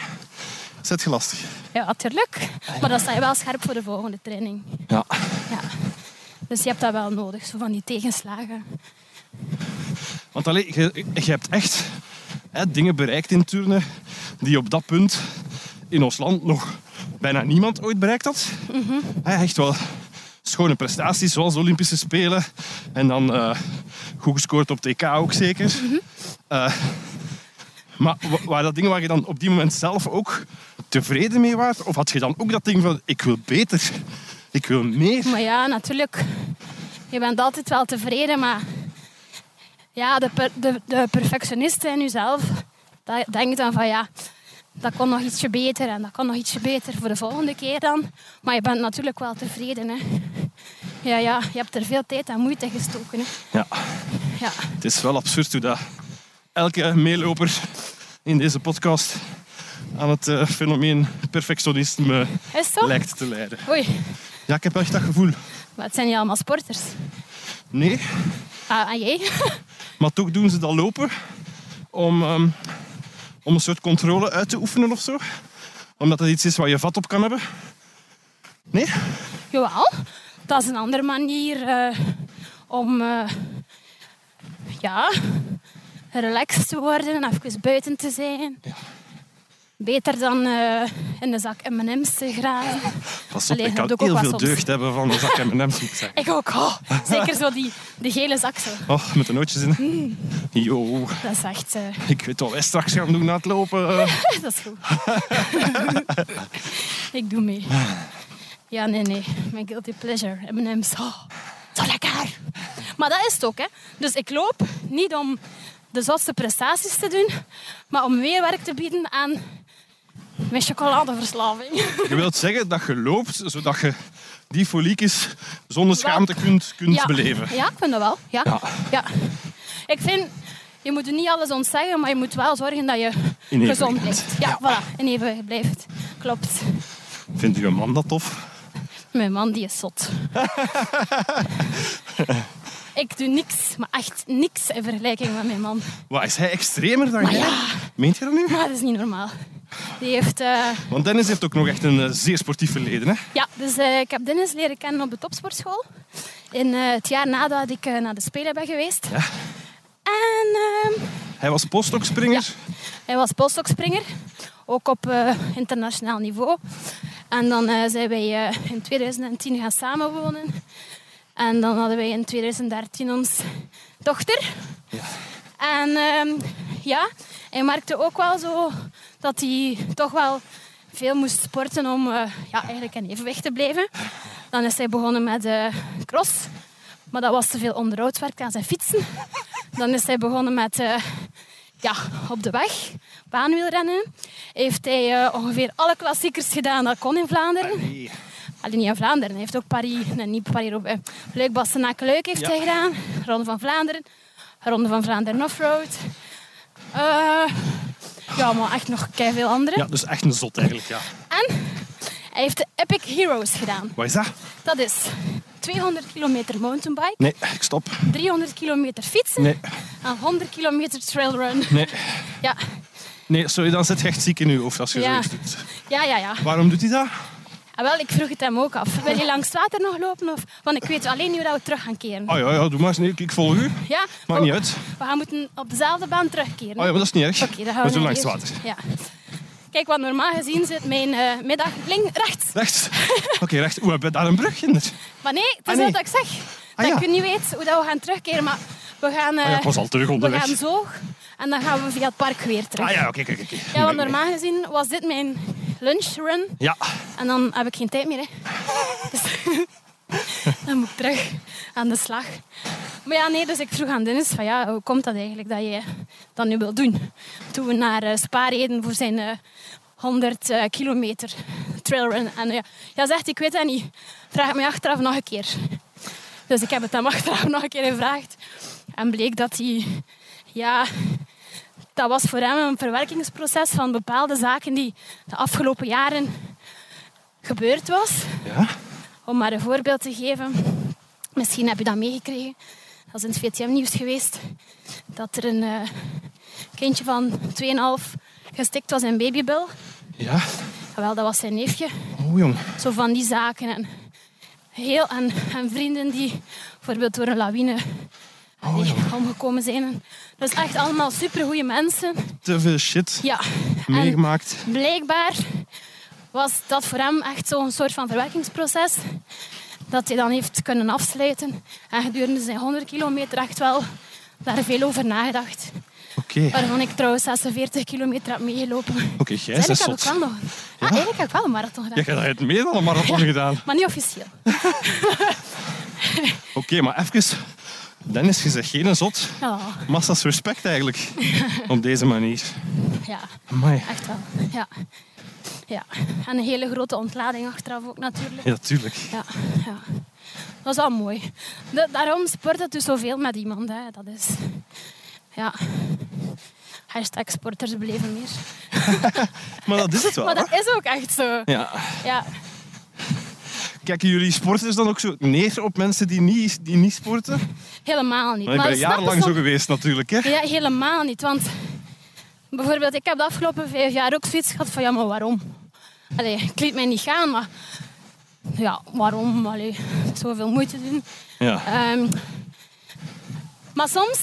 Speaker 3: zit je lastig.
Speaker 4: ja, natuurlijk. Maar dan sta je wel scherp voor de volgende training.
Speaker 3: Ja.
Speaker 4: Ja. Dus je hebt dat wel nodig, zo van die tegenslagen.
Speaker 3: Want alleen, je, je hebt echt hè, dingen bereikt in turnen die op dat punt in ons land nog bijna niemand ooit bereikt had. Hè, echt wel schone prestaties, zoals de Olympische Spelen. En dan eh, goed gescoord op TK ook zeker. Eh, maar wa- waren dat dingen waar je dan op die moment zelf ook tevreden mee was? Of had je dan ook dat ding van, ik wil beter, ik wil meer?
Speaker 4: Maar ja, natuurlijk. Je bent altijd wel tevreden, maar... Ja, de, per- de, de perfectionist in jezelf, dat denkt dan van ja... Dat kon nog ietsje beter en dat kon nog ietsje beter voor de volgende keer dan. Maar je bent natuurlijk wel tevreden, hè. Ja, ja, je hebt er veel tijd en moeite in gestoken, hè.
Speaker 3: Ja,
Speaker 4: Ja,
Speaker 3: Het is wel absurd hoe dat elke meeloper in deze podcast aan het eh, fenomeen perfectionisme
Speaker 4: is het zo?
Speaker 3: lijkt te leiden.
Speaker 4: Oei,
Speaker 3: Ja, ik heb echt dat gevoel.
Speaker 4: maar het zijn niet allemaal sporters.
Speaker 3: Nee,
Speaker 4: Ah, en jij?
Speaker 3: maar toch doen ze dat lopen om, ehm, om een soort controle uit te oefenen of zo. Omdat dat iets is waar je vat op kan hebben. Nee?
Speaker 4: Jawel, dat is een andere manier eh, om eh, ja, relaxed te worden en even buiten te zijn. Beter dan eh, in de zak M&M's te graven.
Speaker 3: Pas op,
Speaker 4: Allee,
Speaker 3: ik kan
Speaker 4: dat doe ik ook
Speaker 3: heel
Speaker 4: wel
Speaker 3: veel
Speaker 4: soms.
Speaker 3: deugd hebben van de zak M&M's, moet ik zeggen.
Speaker 4: Ik ook, oh, zeker zo die, die gele zak zo.
Speaker 3: Oh, met de nootjes in. Yo,
Speaker 4: Dat is echt, eh,
Speaker 3: ik weet wat wij straks gaan doen na het lopen. Eh,
Speaker 4: dat is goed. ik doe mee. Ja, nee, nee, mijn guilty pleasure, M&M's, oh, zo lekker. Maar dat is het ook, hè. Dus ik loop niet om de zotste prestaties te doen, maar om meer werk te bieden aan mijn chocoladeverslaving.
Speaker 3: Je wilt zeggen dat je loopt, zodat je die foliekjes zonder schaamte kunt, kunt beleven.
Speaker 4: Ja, ik vind dat wel. Ja.
Speaker 3: Ja.
Speaker 4: Ja. Ik vind, je moet niet alles ontzeggen, maar je moet wel zorgen dat je
Speaker 3: In evenwicht
Speaker 4: gezond
Speaker 3: blijft.
Speaker 4: blijft. Ja, voilà, in evenwicht blijft. Klopt.
Speaker 3: Vindt uw man dat tof?
Speaker 4: Mijn man die is zot. ik doe niks, maar echt niks in vergelijking met mijn man.
Speaker 3: Wat, is hij extremer dan
Speaker 4: Maar
Speaker 3: jij?
Speaker 4: Ah, ja.
Speaker 3: Meent je dat nu?
Speaker 4: Maar dat is niet normaal. Die heeft... eh,
Speaker 3: Want Dennis heeft ook nog echt een eh, zeer sportief verleden. Hè?
Speaker 4: ja, dus eh, ik heb Dennis leren kennen op de topsportschool. In eh, het jaar nadat ik eh, naar de Spelen ben geweest.
Speaker 3: Ja.
Speaker 4: En ehm,
Speaker 3: Hij was postdokspringer.
Speaker 4: Hij was polstokspringer, ook op eh, internationaal niveau. En dan eh, zijn wij eh, in 2010 gaan samenwonen. En dan hadden wij in 2013 ons dochter. En ehm, ja, hij merkte ook wel zo dat hij toch wel veel moest sporten om eh, ja, eigenlijk in evenwicht te blijven. Dan is hij begonnen met eh, cross, maar dat was te veel onderhoudwerk aan zijn fietsen. Dan is hij begonnen met eh, ja, op de weg, baanwielrennen. Heeft hij eh, ongeveer alle klassiekers gedaan dat kon in Vlaanderen.
Speaker 3: Allee.
Speaker 4: Alleen niet in Vlaanderen. Hij heeft ook Paris, nee, niet Paris, eh, Roubaix. Luik Bastenaken Luik heeft
Speaker 3: Ja.
Speaker 4: hij gedaan. Ronde van Vlaanderen. Ronde van Vlaanderen Offroad. Eh ja, maar echt nog veel andere.
Speaker 3: Ja, dus echt een zot eigenlijk, ja.
Speaker 4: En hij heeft de Epic Heroes gedaan.
Speaker 3: Wat is dat?
Speaker 4: Dat is 200 kilometer mountainbike,
Speaker 3: Nee, ik stop.
Speaker 4: 300 kilometer fietsen
Speaker 3: Nee,
Speaker 4: en 100 kilometer trailrun.
Speaker 3: nee.
Speaker 4: Ja,
Speaker 3: Nee, sorry, dan zit je echt ziek in je hoofd als je
Speaker 4: Ja.
Speaker 3: zoiets doet.
Speaker 4: ja, ja. ja.
Speaker 3: Waarom doet hij dat?
Speaker 4: En Ah, wel, ik vroeg het hem ook af. Wil je langs water nog lopen? Of? Want ik weet alleen niet hoe dat we terug gaan keren.
Speaker 3: Oh ja, ja doe maar eens. Nee, ik- ik volg u.
Speaker 4: Ja?
Speaker 3: Maakt
Speaker 4: Oh,
Speaker 3: niet uit.
Speaker 4: We gaan moeten op dezelfde baan terugkeren.
Speaker 3: Oh ja, maar dat is niet erg.
Speaker 4: Oké, dan gaan
Speaker 3: we
Speaker 4: we
Speaker 3: doen
Speaker 4: naar
Speaker 3: langs het
Speaker 4: hier.
Speaker 3: water.
Speaker 4: Ja. Kijk, wat normaal gezien zit mijn eh, middag link rechts.
Speaker 3: Rechts. Oké, rechts. Oeh, hebben we daar een brug in?
Speaker 4: Maar nee, het is
Speaker 3: Ah, nee.
Speaker 4: wat ik zeg.
Speaker 3: Ah,
Speaker 4: Dat
Speaker 3: ja.
Speaker 4: ik niet weet hoe dat we gaan terugkeren. Maar we gaan, eh,
Speaker 3: Ah ja, ik was al terug
Speaker 4: we
Speaker 3: onderweg.
Speaker 4: gaan zo en dan gaan we via het park weer terug.
Speaker 3: Ah ja, oké, oké, oké.
Speaker 4: Ja, want normaal gezien was dit mijn lunchrun.
Speaker 3: Ja,
Speaker 4: En dan heb ik geen tijd meer. Hè. Dus dan moet ik terug aan de slag. Maar ja, nee, dus ik vroeg aan Dennis van ja, hoe komt dat eigenlijk dat je dat nu wil doen? Toen we naar eh, Spa reden voor zijn eh, 100 eh, kilometer trailrun. En eh, ja, ja, zegt ik weet dat niet. Vraag het mij achteraf nog een keer. Dus ik heb het hem achteraf nog een keer gevraagd. En bleek dat hij, ja, dat was voor hem een verwerkingsproces van bepaalde zaken die de afgelopen jaren gebeurd was.
Speaker 3: ja.
Speaker 4: Om maar een voorbeeld te geven. Misschien heb je dat meegekregen. Dat is in het VTM-nieuws geweest. Dat er een eh, kindje van 2,5 gestikt was in babybil.
Speaker 3: Ja.
Speaker 4: Wel, dat was zijn neefje.
Speaker 3: Oh jong.
Speaker 4: Zo van die zaken. En, heel, en, en vrienden die bijvoorbeeld door een lawine allee, omgekomen zijn. En Dat is echt allemaal supergoeie mensen.
Speaker 3: Te veel shit
Speaker 4: Ja. En-
Speaker 3: meegemaakt.
Speaker 4: blijkbaar was dat voor hem echt zo'n soort van verwerkingsproces. Dat hij dan heeft kunnen afsluiten. En gedurende zijn 100 kilometer echt wel daar veel over nagedacht.
Speaker 3: Oké.
Speaker 4: Waarvan ik trouwens 46 kilometer heb meegelopen.
Speaker 3: Oké, jij
Speaker 4: Dus
Speaker 3: is dat
Speaker 4: eigenlijk heb ik
Speaker 3: zot.
Speaker 4: wel nog... Ja, eigenlijk heb ik wel een marathon
Speaker 3: Ja,
Speaker 4: gedaan.
Speaker 3: jij hebt meer dan een marathon gedaan.
Speaker 4: Maar niet officieel.
Speaker 3: Oké, maar even. Dennis, je zegt geen zot.
Speaker 4: Ja,
Speaker 3: Massa's respect eigenlijk. Op deze manier.
Speaker 4: ja,
Speaker 3: Amai.
Speaker 4: echt wel. Ja. Ja. En een hele grote ontlading achteraf ook natuurlijk.
Speaker 3: Ja, tuurlijk.
Speaker 4: Ja, ja. Dat is al mooi. Da- daarom sport het dus zoveel met iemand. Hè. Dat is... Ja. Hashtag sporters beleven meer.
Speaker 3: Maar dat is het wel.
Speaker 4: Maar
Speaker 3: hè?
Speaker 4: dat is ook echt zo.
Speaker 3: Ja.
Speaker 4: Ja.
Speaker 3: Kijken jullie sporters dan ook zo neer op mensen die niet, die niet sporten?
Speaker 4: Helemaal niet.
Speaker 3: Maar ik ben
Speaker 4: ik snap het
Speaker 3: jarenlang zo
Speaker 4: soms-
Speaker 3: geweest natuurlijk. Hè?
Speaker 4: Ja, helemaal niet. Want bijvoorbeeld, ik heb de afgelopen vijf jaar ook zoiets gehad van ja, maar waarom? Allee, ik liet mij niet gaan, maar ja, waarom? Allee, zoveel moeite doen.
Speaker 3: Ja.
Speaker 4: Ehm, maar soms,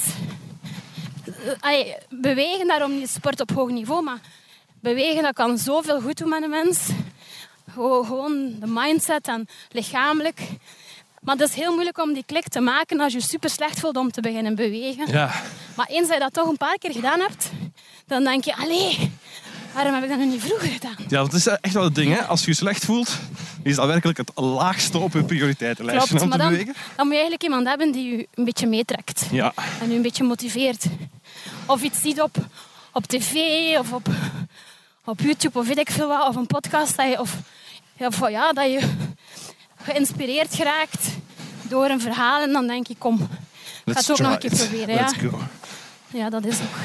Speaker 4: eh, allee, bewegen daarom niet sport op hoog niveau, maar bewegen dat kan zoveel goed doen met een mens. Gewo- Gewoon de mindset en lichamelijk. Maar het is heel moeilijk om die klik te maken als je super slecht voelt om te beginnen bewegen.
Speaker 3: Ja.
Speaker 4: Maar eens dat je dat toch een paar keer gedaan hebt, dan denk je, allee, waarom heb ik dat nu niet vroeger gedaan?
Speaker 3: Ja, dat is echt wel het ding. Hè? Als je je slecht voelt, is dat werkelijk het laagste op je prioriteitenlijstje om te
Speaker 4: maar dan, dan
Speaker 3: bewegen.
Speaker 4: moet je eigenlijk iemand hebben die je een beetje meetrekt.
Speaker 3: Ja.
Speaker 4: en u een beetje motiveert. Of iets ziet op, op tv of op, op YouTube of weet ik veel wat, of een podcast. Dat je, of, ja, of ja, dat je geïnspireerd geraakt door een verhaal en dan denk je, kom, ik ga
Speaker 3: Let's
Speaker 4: het ook nog een
Speaker 3: try
Speaker 4: keer
Speaker 3: it.
Speaker 4: proberen. Ja.
Speaker 3: Let's go.
Speaker 4: ja, dat is ook.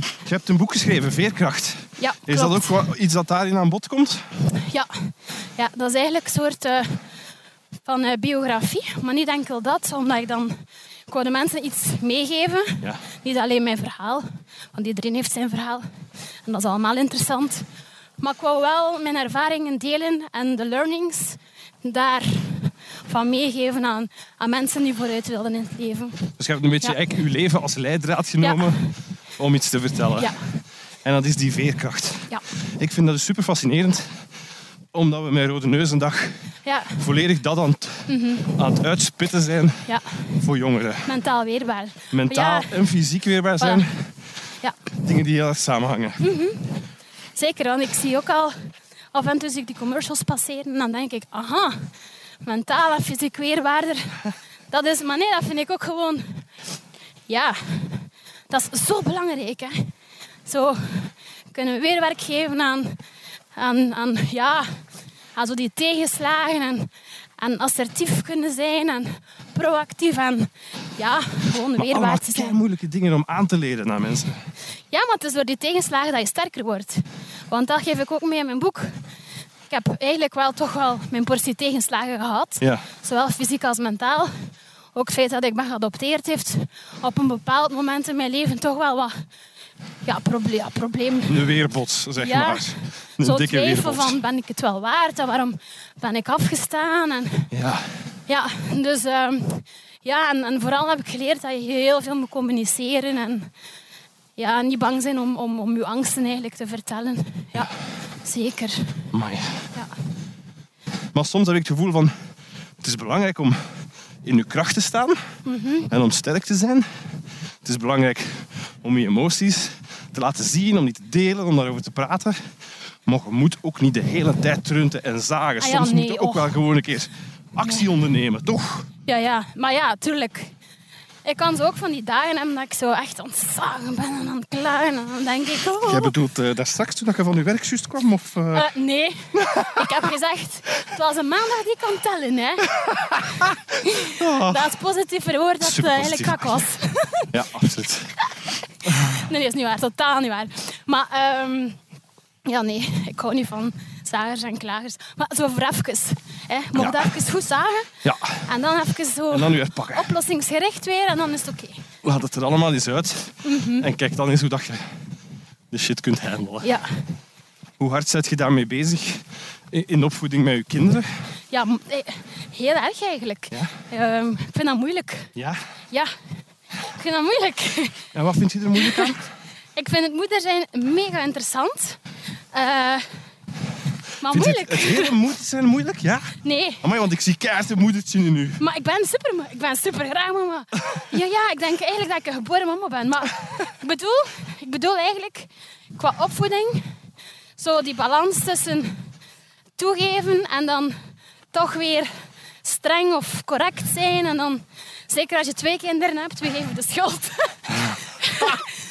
Speaker 3: Je hebt een boek geschreven, Veerkracht.
Speaker 4: Ja,
Speaker 3: Is
Speaker 4: klopt.
Speaker 3: dat ook wa- iets dat daarin aan bod komt?
Speaker 4: Ja, ja dat is eigenlijk een soort eh, van eh, biografie. Maar niet enkel dat, omdat ik dan... Ik wou de mensen iets meegeven.
Speaker 3: Ja.
Speaker 4: Niet alleen mijn verhaal, want iedereen heeft zijn verhaal. En dat is allemaal interessant. Maar ik wou wel mijn ervaringen delen en de learnings daarvan meegeven aan, aan mensen die vooruit wilden in het leven.
Speaker 3: Dus je hebt een beetje
Speaker 4: Ja.
Speaker 3: eigenlijk je leven als leidraad genomen om iets te vertellen.
Speaker 4: Ja,
Speaker 3: En dat is die veerkracht.
Speaker 4: ja.
Speaker 3: Ik vind dat dus super fascinerend. Omdat we met Rode Neuzendag
Speaker 4: Ja,
Speaker 3: volledig dat aan het,
Speaker 4: Mhm.
Speaker 3: aan het uitspitten zijn
Speaker 4: ja.
Speaker 3: voor jongeren.
Speaker 4: mentaal weerbaar.
Speaker 3: Mentaal
Speaker 4: Ja.
Speaker 3: en fysiek weerbaar zijn.
Speaker 4: Ja.
Speaker 3: Dingen die heel erg samenhangen.
Speaker 4: Zeker, want ik zie ook al af en toe zie ik die commercials passeren en dan denk ik, aha, mentaal en fysiek weerbaarder. Dat is, maar nee, dat vind ik ook gewoon, ja, dat is zo belangrijk. Hè. Zo kunnen we weer werk geven aan, aan, aan, ja, aan zo die tegenslagen en, en assertief kunnen zijn en proactief en ja, gewoon
Speaker 3: Maar allemaal
Speaker 4: weerbaar te zijn.
Speaker 3: moeilijke dingen om aan te leren aan mensen.
Speaker 4: Ja, maar het is door die tegenslagen dat je sterker wordt. Want dat geef ik ook mee in mijn boek. Ik heb eigenlijk wel toch wel mijn portie tegenslagen gehad.
Speaker 3: Ja.
Speaker 4: Zowel fysiek als mentaal. Ook het feit dat ik ben geadopteerd heeft op een bepaald moment in mijn leven toch wel wat ja, proble ja, probleem.
Speaker 3: Een weerbots, zeg
Speaker 4: Ja.
Speaker 3: maar. Een
Speaker 4: Zo
Speaker 3: dikke
Speaker 4: twijfel
Speaker 3: weerbots.
Speaker 4: van ben ik het wel waard en waarom ben ik afgestaan. En,
Speaker 3: Ja.
Speaker 4: ja, dus ehm, ja, en, en vooral heb ik geleerd dat je heel veel moet communiceren en ja, niet bang zijn om, om, om je angsten eigenlijk te vertellen. Ja, zeker.
Speaker 3: Amai.
Speaker 4: Ja.
Speaker 3: Maar soms heb ik het gevoel van... Het is belangrijk om in je kracht te staan.
Speaker 4: Mhm.
Speaker 3: En om sterk te zijn. Het is belangrijk om je emoties te laten zien. Om die te delen, om daarover te praten. Maar je moet ook niet de hele tijd trunten en zagen.
Speaker 4: Ah
Speaker 3: Soms moet
Speaker 4: ja, nee,
Speaker 3: je ook
Speaker 4: och.
Speaker 3: wel gewoon een keer actie ondernemen, toch?
Speaker 4: Ja, ja, maar ja, tuurlijk. Ik kan zo ook van die dagen hebben dat ik zo echt ontzagen ben en aan het klagen. En dan denk ik, oh.
Speaker 3: Jij bedoelt eh, daar straks toen dat je van je werk juist kwam? Of, eh,
Speaker 4: Eh, nee, ik heb gezegd, het was een maandag die kan tellen. Hè. Dat is positief verwoord dat het eh, eigenlijk
Speaker 3: Superpositief.
Speaker 4: kak was.
Speaker 3: Ja, absoluut.
Speaker 4: Nee, dat is niet waar. Totaal niet waar. Maar ehm, ja, nee. Ik hou niet van zagers en klagers. Maar zo voor even. Hè. Mocht
Speaker 3: Ja.
Speaker 4: even goed zagen.
Speaker 3: Ja,
Speaker 4: En dan even zo
Speaker 3: en dan weer pakken.
Speaker 4: oplossingsgericht weer. En dan is het oké.
Speaker 3: Laat het er allemaal eens uit. En kijk dan eens hoe dat je de shit kunt handelen.
Speaker 4: Mhm. Ja.
Speaker 3: Hoe hard zet je daarmee bezig in in de opvoeding met je kinderen?
Speaker 4: Ja, m- eh, heel erg eigenlijk. Ehm, ik vind dat moeilijk.
Speaker 3: Ja.
Speaker 4: Ja. Ik vind dat moeilijk.
Speaker 3: En wat vindt je er moeilijk
Speaker 4: Ah,
Speaker 3: aan?
Speaker 4: Ik vind het moeder zijn mega interessant. Eh, maar
Speaker 3: Vindt je
Speaker 4: moeilijk.
Speaker 3: Het, het hele moeder zijn moeilijk, ja?
Speaker 4: Nee.
Speaker 3: Amai, want ik zie keihard een moedertje in u.
Speaker 4: Maar ik ben super, ik ben super graag mama. Ja, ja, ik denk eigenlijk dat ik een geboren mama ben. Maar ik bedoel, ik bedoel eigenlijk qua opvoeding, zo die balans tussen toegeven en dan toch weer streng of correct zijn. En dan, zeker als je twee kinderen hebt, wie geeft de schuld?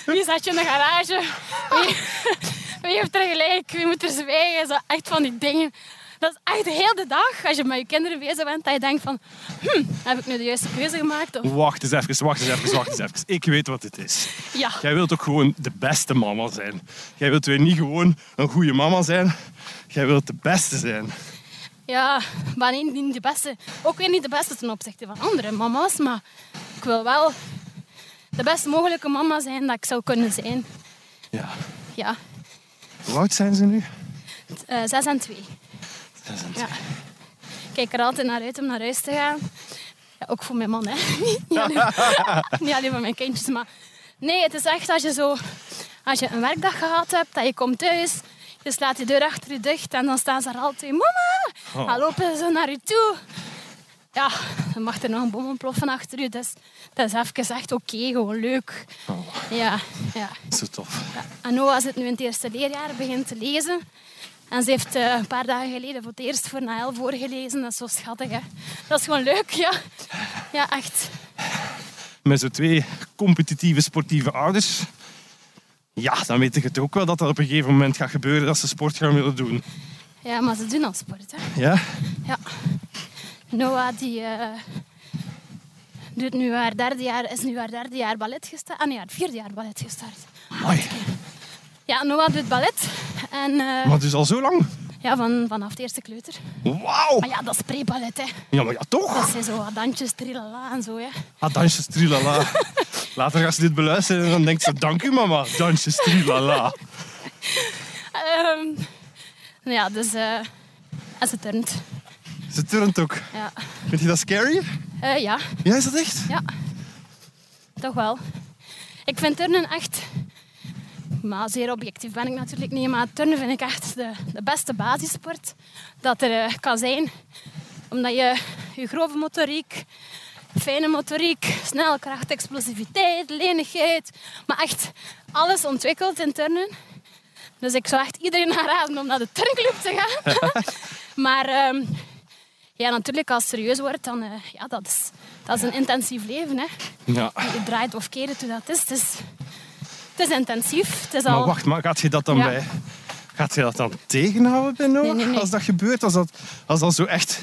Speaker 4: Wie zat je in de garage? Wie, wie heeft er gelijk? Wie moet er zwijgen? Zo echt van die dingen. Dat is echt de hele dag, als je met je kinderen bezig bent, dat je denkt van... Hm, heb ik nu de juiste keuze gemaakt? Of,
Speaker 3: Wacht eens even, wacht eens even, wacht eens even. Ik weet wat dit is.
Speaker 4: ja.
Speaker 3: Jij wilt ook gewoon de beste mama zijn. Jij wilt weer niet gewoon een goede mama zijn. Jij wilt de beste zijn.
Speaker 4: Ja, maar niet niet de beste. Ook weer niet de beste ten opzichte van andere mama's. Maar ik wil wel de best mogelijke mama zijn dat ik zou kunnen zijn.
Speaker 3: Ja.
Speaker 4: Ja,
Speaker 3: Hoe oud zijn ze nu?
Speaker 4: t- eh, zes en twee.
Speaker 3: Zes en
Speaker 4: Ja. Ik kijk er altijd naar uit om naar huis te gaan. Ja, ook voor mijn man, hè. Niet alleen, niet alleen voor mijn kindjes, maar... Nee, het is echt als je zo... Als je een werkdag gehad hebt, dat je komt thuis... Je slaat de deur achter je dicht en dan staan ze er altijd... Mama!
Speaker 3: Oh.
Speaker 4: Dan lopen ze naar je toe. Ja, dan mag er nog een bom ontploffen achter je. Dus dat is even echt oké, gewoon leuk.
Speaker 3: Oh,
Speaker 4: Ja, ja.
Speaker 3: zo tof.
Speaker 4: En Noah zit nu in het eerste leerjaar, begint te lezen. En ze heeft eh, een paar dagen geleden voor het eerst voor Nael voorgelezen. Dat is zo schattig, hè? Dat is gewoon leuk, ja. Ja, echt.
Speaker 3: met zo'n twee competitieve sportieve ouders. Ja, dan weet ik het ook wel dat dat op een gegeven moment gaat gebeuren dat ze sport gaan willen doen.
Speaker 4: Ja, maar ze doen al sport, hè.
Speaker 3: Ja?
Speaker 4: Ja. Noah, die eh, doet nu haar derde jaar, is nu haar derde jaar ballet gestart. Ah nee, haar vierde jaar ballet gestart.
Speaker 3: Mooi.
Speaker 4: Ja, Noah doet ballet. En eh,
Speaker 3: Maar dus al zo lang?
Speaker 4: ja, van, vanaf de eerste kleuter.
Speaker 3: Wauw!
Speaker 4: Maar Ah, ja, dat is pre-ballet, hè.
Speaker 3: Ja, maar ja, toch?
Speaker 4: Dat zijn zo wat dansjes, trilala en zo, hè.
Speaker 3: Ah, dansjes trilala. Later gaat ze dit beluisteren en dan denkt ze, dank u mama, dansjes trilala.
Speaker 4: Ehm, nou ja, dus eh en ze turnt.
Speaker 3: Ze turnt ook.
Speaker 4: Ja.
Speaker 3: Vind je dat scary?
Speaker 4: Eh, ja,
Speaker 3: Ja, is dat echt?
Speaker 4: ja. Toch wel. Ik vind turnen echt Maar zeer objectief ben ik natuurlijk niet. Maar turnen vind ik echt de, de beste basissport dat er eh, kan zijn. Omdat je je grove motoriek, fijne motoriek, snelkracht, explosiviteit, lenigheid. Maar echt alles ontwikkelt in turnen. Dus ik zou echt iedereen aanraden om naar de turnclub te gaan. maar ehm, ja, natuurlijk als het serieus wordt, dan eh, ja, dat is, dat is een intensief leven. Hè.
Speaker 3: Ja.
Speaker 4: Je draait of keert hoe dat is. Het is, het is intensief. Het is al...
Speaker 3: Maar wacht, maar gaat je dat dan
Speaker 4: Ja.
Speaker 3: bij... Gaat je dat dan tegenhouden bij Noah?
Speaker 4: Nee, nee, nee.
Speaker 3: Als dat gebeurt, als dat, als dat zo echt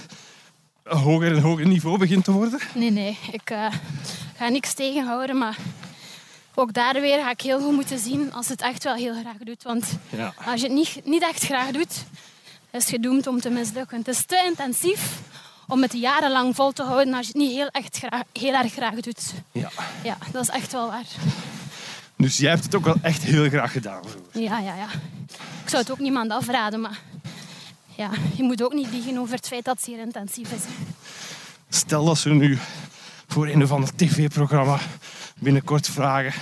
Speaker 3: een hoger en hoger niveau begint te worden?
Speaker 4: Nee, nee. Ik eh, ga niks tegenhouden, maar ook daar weer ga ik heel goed moeten zien als het echt wel heel graag doet. Want
Speaker 3: Ja.
Speaker 4: als je het niet, niet echt graag doet, is het gedoemd om te mislukken. Het is te intensief om het jarenlang vol te houden als je het niet heel, echt graag, heel erg graag doet.
Speaker 3: ja.
Speaker 4: Ja, dat is echt wel waar.
Speaker 3: Dus jij hebt het ook wel echt heel graag gedaan. vroeger.
Speaker 4: Ja, ja, ja. Ik zou het ook niemand afraden, maar ja, je moet ook niet liegen over het feit dat het zeer intensief is.
Speaker 3: Stel dat ze nu voor een of ander tv-programma binnenkort vragen...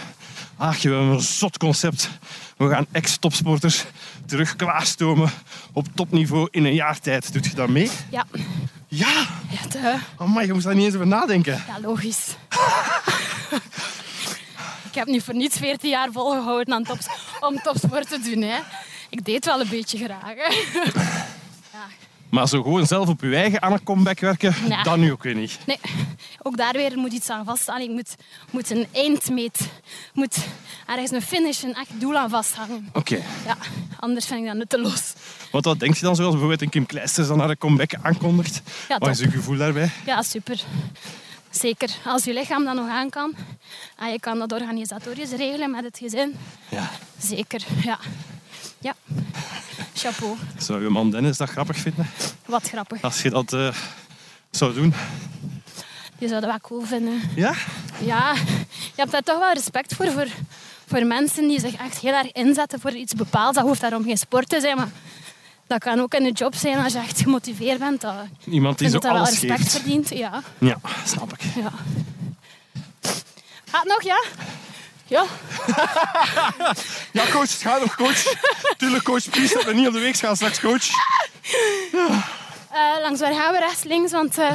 Speaker 3: Ach, we hebben een zot concept. We gaan ex-topsporters terug klaarstomen op topniveau in een jaar tijd. Doet je dat mee?
Speaker 4: Ja,
Speaker 3: Ja!
Speaker 4: het, eh,
Speaker 3: Amai, je moest daar niet eens over nadenken.
Speaker 4: Ja, logisch. ik heb niet voor niets 14 jaar volgehouden aan tops, om topsport te doen. Hè. Ik deed wel een beetje graag. Hè. ja.
Speaker 3: Maar zo gewoon zelf op je eigen aan een comeback werken,
Speaker 4: Ja.
Speaker 3: dat nu ook weer niet.
Speaker 4: Nee, ook daar weer moet iets aan vaststaan. Ik moet, moet een eindmeet, moet ergens een finish, een echt doel aan vasthangen.
Speaker 3: Oké.
Speaker 4: Ja, anders vind ik dat nutteloos.
Speaker 3: Want wat denk je dan, zoals bijvoorbeeld een Kim Kleisters dan haar een comeback aankondigt?
Speaker 4: Ja,
Speaker 3: Wat is
Speaker 4: top.
Speaker 3: je gevoel daarbij?
Speaker 4: Ja, super. Zeker, als je lichaam dat nog aan kan. En je kan dat organisatorisch regelen met het gezin.
Speaker 3: Ja.
Speaker 4: Zeker, ja. Ja, chapeau.
Speaker 3: Zou je man Dennis dat grappig vinden?
Speaker 4: Wat grappig.
Speaker 3: Als je dat eh, zou doen?
Speaker 4: Je zou dat wel cool vinden.
Speaker 3: Ja?
Speaker 4: Ja, je hebt daar toch wel respect voor, voor, voor mensen die zich echt heel erg inzetten voor iets bepaalds. Dat hoeft daarom geen sport te zijn, maar dat kan ook in de job zijn als je echt gemotiveerd bent. Dat,
Speaker 3: Iemand die
Speaker 4: ik
Speaker 3: zo
Speaker 4: vind dat dat wel
Speaker 3: alles
Speaker 4: respect
Speaker 3: geeft.
Speaker 4: verdient. Ja,
Speaker 3: Ja, snap ik.
Speaker 4: ja. Gaat nog, ja? Ja,
Speaker 3: Ja, coach, ga nog, coach. Tuurlijk, coach, please, dat we niet op de week gaan straks, coach.
Speaker 4: Eh, langs waar gaan we? Rechts, links, want... eh,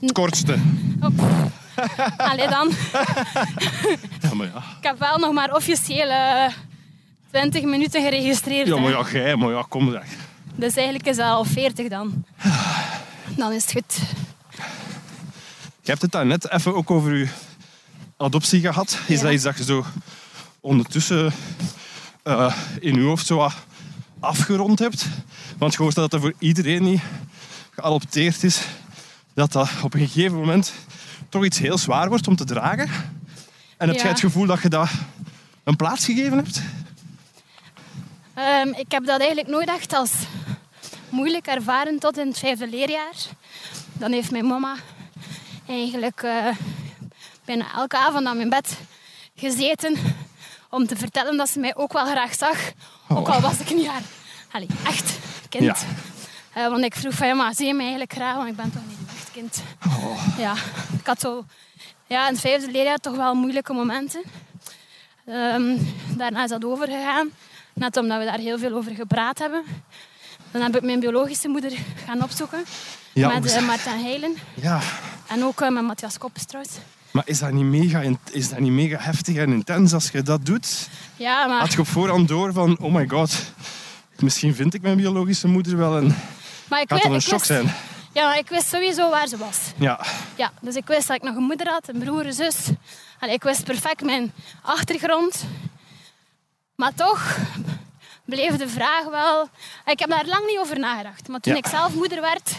Speaker 3: Het kortste.
Speaker 4: oh, pff. Allee dan.
Speaker 3: Ja, maar ja.
Speaker 4: Ik heb wel nog maar officieel eh, 20 minuten geregistreerd.
Speaker 3: Ja,
Speaker 4: hè.
Speaker 3: maar ja, jij, maar ja, kom daar.
Speaker 4: Dus eigenlijk is dat al 40 dan. Dan is het goed.
Speaker 3: Je hebt het daar net even ook over je adoptie gehad. Is
Speaker 4: Ja.
Speaker 3: dat iets dat je zo ondertussen eh, in je hoofd zo wat afgerond hebt? Want je hoort dat dat voor iedereen die geadopteerd is, dat dat op een gegeven moment toch iets heel zwaar wordt om te dragen. En heb
Speaker 4: Ja.
Speaker 3: jij het gevoel dat je dat een plaats gegeven hebt?
Speaker 4: Ehm, ik heb dat eigenlijk nooit echt als moeilijk ervaren tot in het vijfde leerjaar. Dan heeft mijn mama eigenlijk eh, bijna elke avond aan mijn bed gezeten om te vertellen dat ze mij ook wel graag zag. Ook al was ik een jaar. Allee, echt kind.
Speaker 3: Ja.
Speaker 4: Eh, want ik vroeg van, ja, maar zie je mij eigenlijk graag? Want ik ben toch niet een echt kind. Ja, ik had zo ja, in het vijfde leerjaar toch wel moeilijke momenten. Ehm, daarna is dat overgegaan. Net omdat we daar heel veel over gepraat hebben. Dan heb ik mijn biologische moeder gaan opzoeken.
Speaker 3: Ja,
Speaker 4: met
Speaker 3: hoe-
Speaker 4: eh, Martijn Heilen.
Speaker 3: Ja,
Speaker 4: En ook eh, met Matthias Koppes trouwens.
Speaker 3: maar is dat, niet mega, in- is dat niet mega heftig en intens als je dat doet?
Speaker 4: Ja, maar...
Speaker 3: Had je op voorhand door van, oh my god, misschien vind ik mijn biologische moeder wel en
Speaker 4: maar ik
Speaker 3: gaat
Speaker 4: wi-
Speaker 3: dat een
Speaker 4: ik
Speaker 3: shock
Speaker 4: wist-
Speaker 3: zijn?
Speaker 4: Ja, maar ik wist sowieso waar ze was.
Speaker 3: Ja,
Speaker 4: Ja, dus ik wist dat ik nog een moeder had, een broer, een zus. Allee, ik wist perfect mijn achtergrond. Maar toch bleef de vraag wel... Ik heb daar lang niet over nagedacht. Maar toen
Speaker 3: Ja.
Speaker 4: ik zelf moeder werd,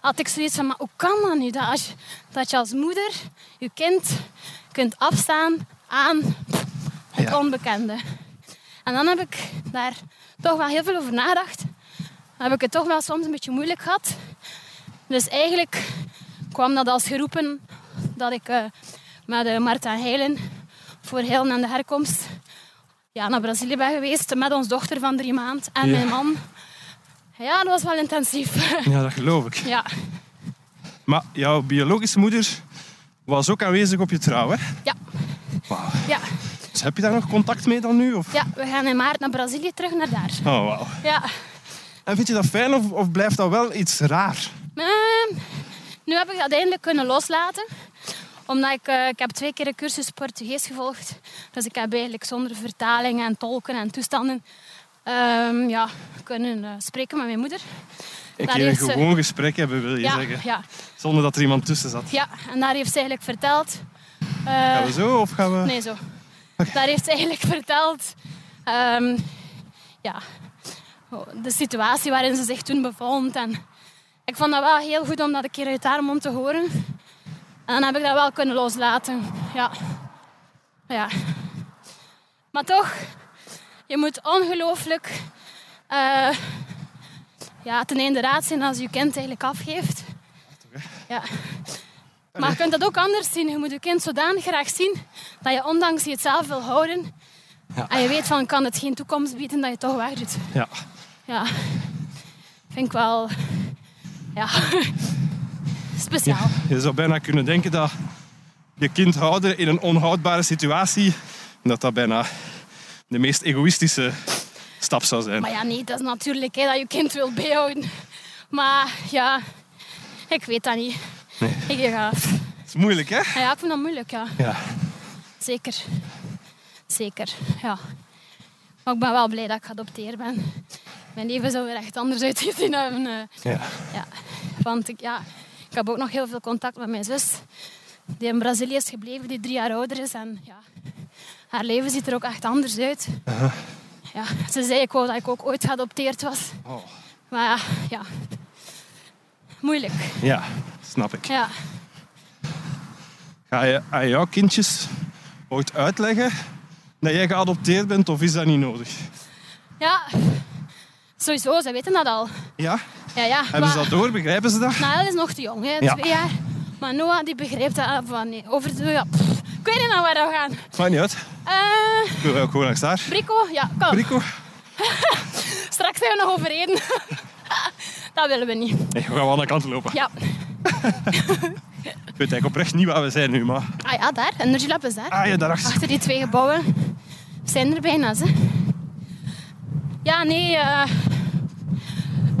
Speaker 4: had ik zoiets van... Maar hoe kan dat nu? Dat, als je, dat je als moeder je kind kunt afstaan aan het
Speaker 3: Ja.
Speaker 4: onbekende. En dan heb ik daar toch wel heel veel over nagedacht. Dan heb ik het toch wel soms een beetje moeilijk gehad. Dus eigenlijk kwam dat als geroepen dat ik eh, met eh, Marta Heilen voor heel en de herkomst ja, naar Brazilië ben geweest met ons dochter van drie maanden en
Speaker 3: Ja.
Speaker 4: mijn man. Ja, dat was wel intensief.
Speaker 3: ja, dat geloof ik.
Speaker 4: ja.
Speaker 3: Maar jouw biologische moeder was ook aanwezig op je trouw, hè?
Speaker 4: Ja.
Speaker 3: Wauw.
Speaker 4: ja.
Speaker 3: Dus heb je daar nog contact mee dan nu? Of?
Speaker 4: Ja, we gaan in maart naar Brazilië terug naar daar.
Speaker 3: Oh, wauw.
Speaker 4: Ja.
Speaker 3: En vind je dat fijn of, of blijft dat wel iets raar?
Speaker 4: Ehm, nu heb ik dat eindelijk kunnen loslaten. Omdat ik, eh, ik heb twee keer een cursus Portugees gevolgd. Dus ik heb eigenlijk zonder vertalingen en tolken en toestanden ehm, ja, kunnen eh, spreken met mijn moeder.
Speaker 3: Een
Speaker 4: Daar
Speaker 3: keer een
Speaker 4: heeft ze-
Speaker 3: gewoon gesprek hebben, wil je
Speaker 4: ja,
Speaker 3: zeggen.
Speaker 4: ja,
Speaker 3: Zonder dat er iemand tussen zat.
Speaker 4: ja, en daar heeft ze eigenlijk verteld... eh,
Speaker 3: Gaan we zo of gaan we...
Speaker 4: Nee, zo. Daar heeft ze eigenlijk verteld ehm, ja, de situatie waarin ze zich toen bevond. En ik vond dat wel heel goed om dat een keer uit haar mond te horen. En dan heb ik dat wel kunnen loslaten. Ja. ja. Maar toch, je moet ongelooflijk eh, ja, ten einde raad zijn als je je kind eigenlijk afgeeft. Ja. Maar je kunt dat ook anders zien. Je moet je kind zodanig graag zien dat je ondanks je het zelf wil houden. En je weet van kan het geen toekomst bieden dat je het toch weg doet.
Speaker 3: Ja.
Speaker 4: Ja, vind ik wel ja. speciaal.
Speaker 3: Je zou bijna kunnen denken dat je kind houden in een onhoudbare situatie... dat dat bijna de meest egoïstische stap zou zijn.
Speaker 4: Maar ja, nee, dat is natuurlijk hè, dat je kind wil bijhouden. Maar ja, ik weet dat niet. Ik ga.
Speaker 3: Het is moeilijk, hè?
Speaker 4: Ja, ik vind dat moeilijk, ja.
Speaker 3: Ja.
Speaker 4: Zeker. Zeker, ja. Maar ik ben wel blij dat ik geadopteerd ben. Mijn leven zou er echt anders uitgezien hebben. eh.
Speaker 3: ja.
Speaker 4: Ja, want ik, ja, ik heb ook nog heel veel contact met mijn zus. Die in Brazilië is gebleven, die drie jaar ouder is. En ja, haar leven ziet er ook echt anders uit.
Speaker 3: Uh-huh.
Speaker 4: Ja, ze zei ik wou dat ik ook ooit geadopteerd was.
Speaker 3: Oh.
Speaker 4: Maar ja, ja. moeilijk.
Speaker 3: Ja, snap ik.
Speaker 4: Ja.
Speaker 3: Ga je aan jouw kindjes ooit uitleggen dat jij geadopteerd bent of is dat niet nodig?
Speaker 4: ja, sowieso, ze weten dat al.
Speaker 3: Ja?
Speaker 4: Ja, ja.
Speaker 3: Hebben ze
Speaker 4: maar-
Speaker 3: dat door? Begrijpen ze dat?
Speaker 4: Nael Nou, is nog te jong, hè,
Speaker 3: Ja.
Speaker 4: twee jaar. Maar Noah die begreep dat ah, van nee, over de. Ja, pff, ik weet niet naar waar we gaan.
Speaker 3: Maakt niet uit.
Speaker 4: Eh
Speaker 3: Ik wil ook gewoon langs daar.
Speaker 4: Brico, ja, kom.
Speaker 3: Rico?
Speaker 4: Straks zijn we nog overreden. dat willen we niet.
Speaker 3: Nee, we gaan wel aan de kant lopen.
Speaker 4: Ja.
Speaker 3: Ik weet eigenlijk oprecht niet waar we zijn nu, maar...
Speaker 4: Ah ja, daar. Energy Lab is daar.
Speaker 3: Ah ja, daarachter.
Speaker 4: Achter die twee gebouwen. We zijn er bijna, hè. Ja, nee. eh,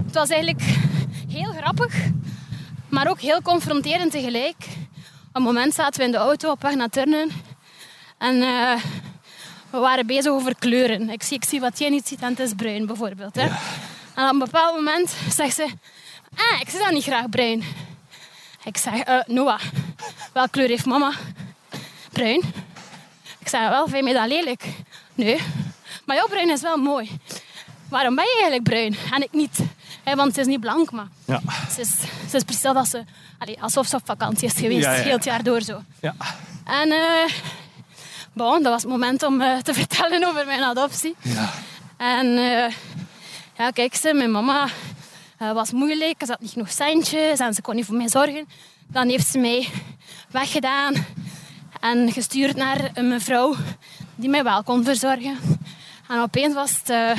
Speaker 4: het was eigenlijk heel grappig. Maar ook heel confronterend tegelijk. Op een moment zaten we in de auto op weg naar Turnen. En eh, we waren bezig over kleuren. Ik zie, ik zie wat jij niet ziet en het is bruin, bijvoorbeeld. Hè. En op een bepaald moment zegt ze... Ah, ik zie dat niet graag bruin. Ik zeg, eh, Noah, welke kleur heeft mama? Bruin. Ik zei wel, vind je dat lelijk? Nee. Maar jouw bruin is wel mooi. Waarom ben je eigenlijk bruin? En ik niet. Hè, want ze is niet blank, maar
Speaker 3: Ja.
Speaker 4: ze is, ze is precies dat ze... Allee, alsof ze op vakantie is geweest,
Speaker 3: Ja, ja, ja.
Speaker 4: heel het jaar door zo.
Speaker 3: Ja.
Speaker 4: En eh, bon, dat was het moment om eh, te vertellen over mijn adoptie.
Speaker 3: Ja.
Speaker 4: En eh, ja, kijk ze, mijn mama eh, was moeilijk. Ze had niet genoeg centjes en ze kon niet voor mij zorgen. Dan heeft ze mij weggedaan en gestuurd naar een mevrouw die mij wel kon verzorgen. En opeens was het eh,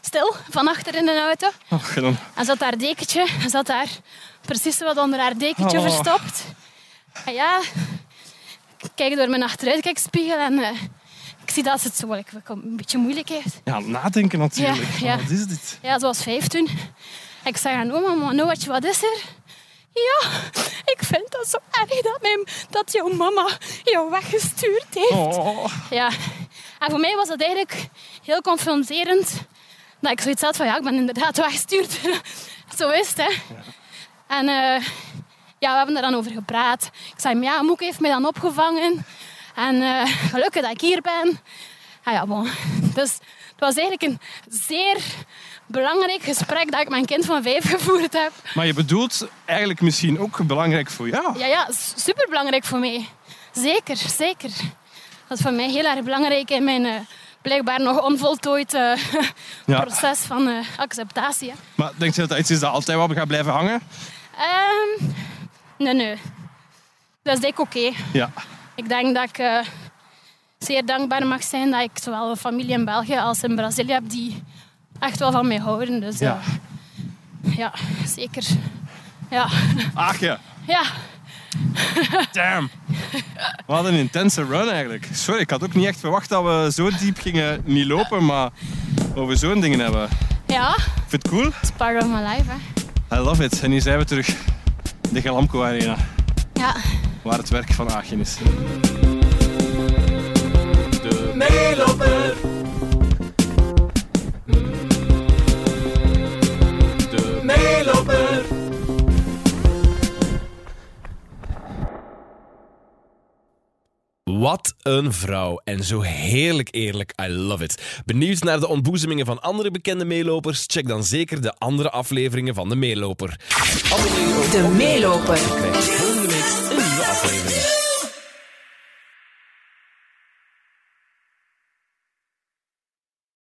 Speaker 4: stil van achter in de auto.
Speaker 3: Och, dan.
Speaker 4: En zat haar dekentje, en zat daar precies wat onder haar dekentje
Speaker 3: Oh.
Speaker 4: verstopt. En ja, ik kijk door mijn achteruitkijkspiegel en eh, ik zie dat ze het zo wel een beetje moeilijk heeft.
Speaker 3: Ja, nadenken natuurlijk.
Speaker 4: Ja, ja.
Speaker 3: Wat is dit?
Speaker 4: Ja, ze was vijf toen. Ik zei aan oma, maar nou, wat is er? Ja, ik vind dat zo erg dat, mijn, dat jouw mama jou weggestuurd heeft.
Speaker 3: Oh.
Speaker 4: Ja. En voor mij was dat eigenlijk heel confronterend. Dat ik zoiets had van, ja, ik ben inderdaad weggestuurd. Zo is het, hè. En eh, ja, we hebben daar dan over gepraat. Ik zei, ja, Moek heeft mij dan opgevangen. En eh, gelukkig dat ik hier ben. Ah ja, bon. Dus het was eigenlijk een zeer belangrijk gesprek dat ik mijn kind van vijf gevoerd heb.
Speaker 3: Maar je bedoelt eigenlijk misschien ook belangrijk voor jou.
Speaker 4: Ja, ja, super belangrijk voor mij. Zeker, zeker. Dat is voor mij heel erg belangrijk in mijn eh, blijkbaar nog onvoltooid eh,
Speaker 3: Ja.
Speaker 4: proces van eh, acceptatie. hè.
Speaker 3: Maar denk je dat dat iets is dat altijd wel gaat blijven hangen?
Speaker 4: Ehm, nee, nee. Dat is denk ik oké.
Speaker 3: Ja.
Speaker 4: Ik denk dat ik eh, zeer dankbaar mag zijn dat ik zowel een familie in België als in Brazilië heb die echt wel van mij houden. Dus
Speaker 3: Ja.
Speaker 4: ja, ja zeker. Ja,
Speaker 3: Ach ja.
Speaker 4: ja.
Speaker 3: Damn. Wat een intense run eigenlijk. Sorry, ik had ook niet echt verwacht dat we zo diep gingen niet lopen, maar over zo'n dingen hebben.
Speaker 4: Ja,
Speaker 3: Ik vind het cool.
Speaker 4: it's part of my life. Hè.
Speaker 3: I love it. En hier zijn we terug. De Galamco Arena,
Speaker 4: Ja,
Speaker 3: waar het werk van Aachen is.
Speaker 1: meeloper. De meeloper.
Speaker 2: Wat een vrouw. En zo heerlijk eerlijk. I love it. Benieuwd naar de ontboezemingen van andere bekende meelopers? Check dan zeker de andere afleveringen van De Meeloper.
Speaker 5: De meeloper.
Speaker 2: Krijg volgende week een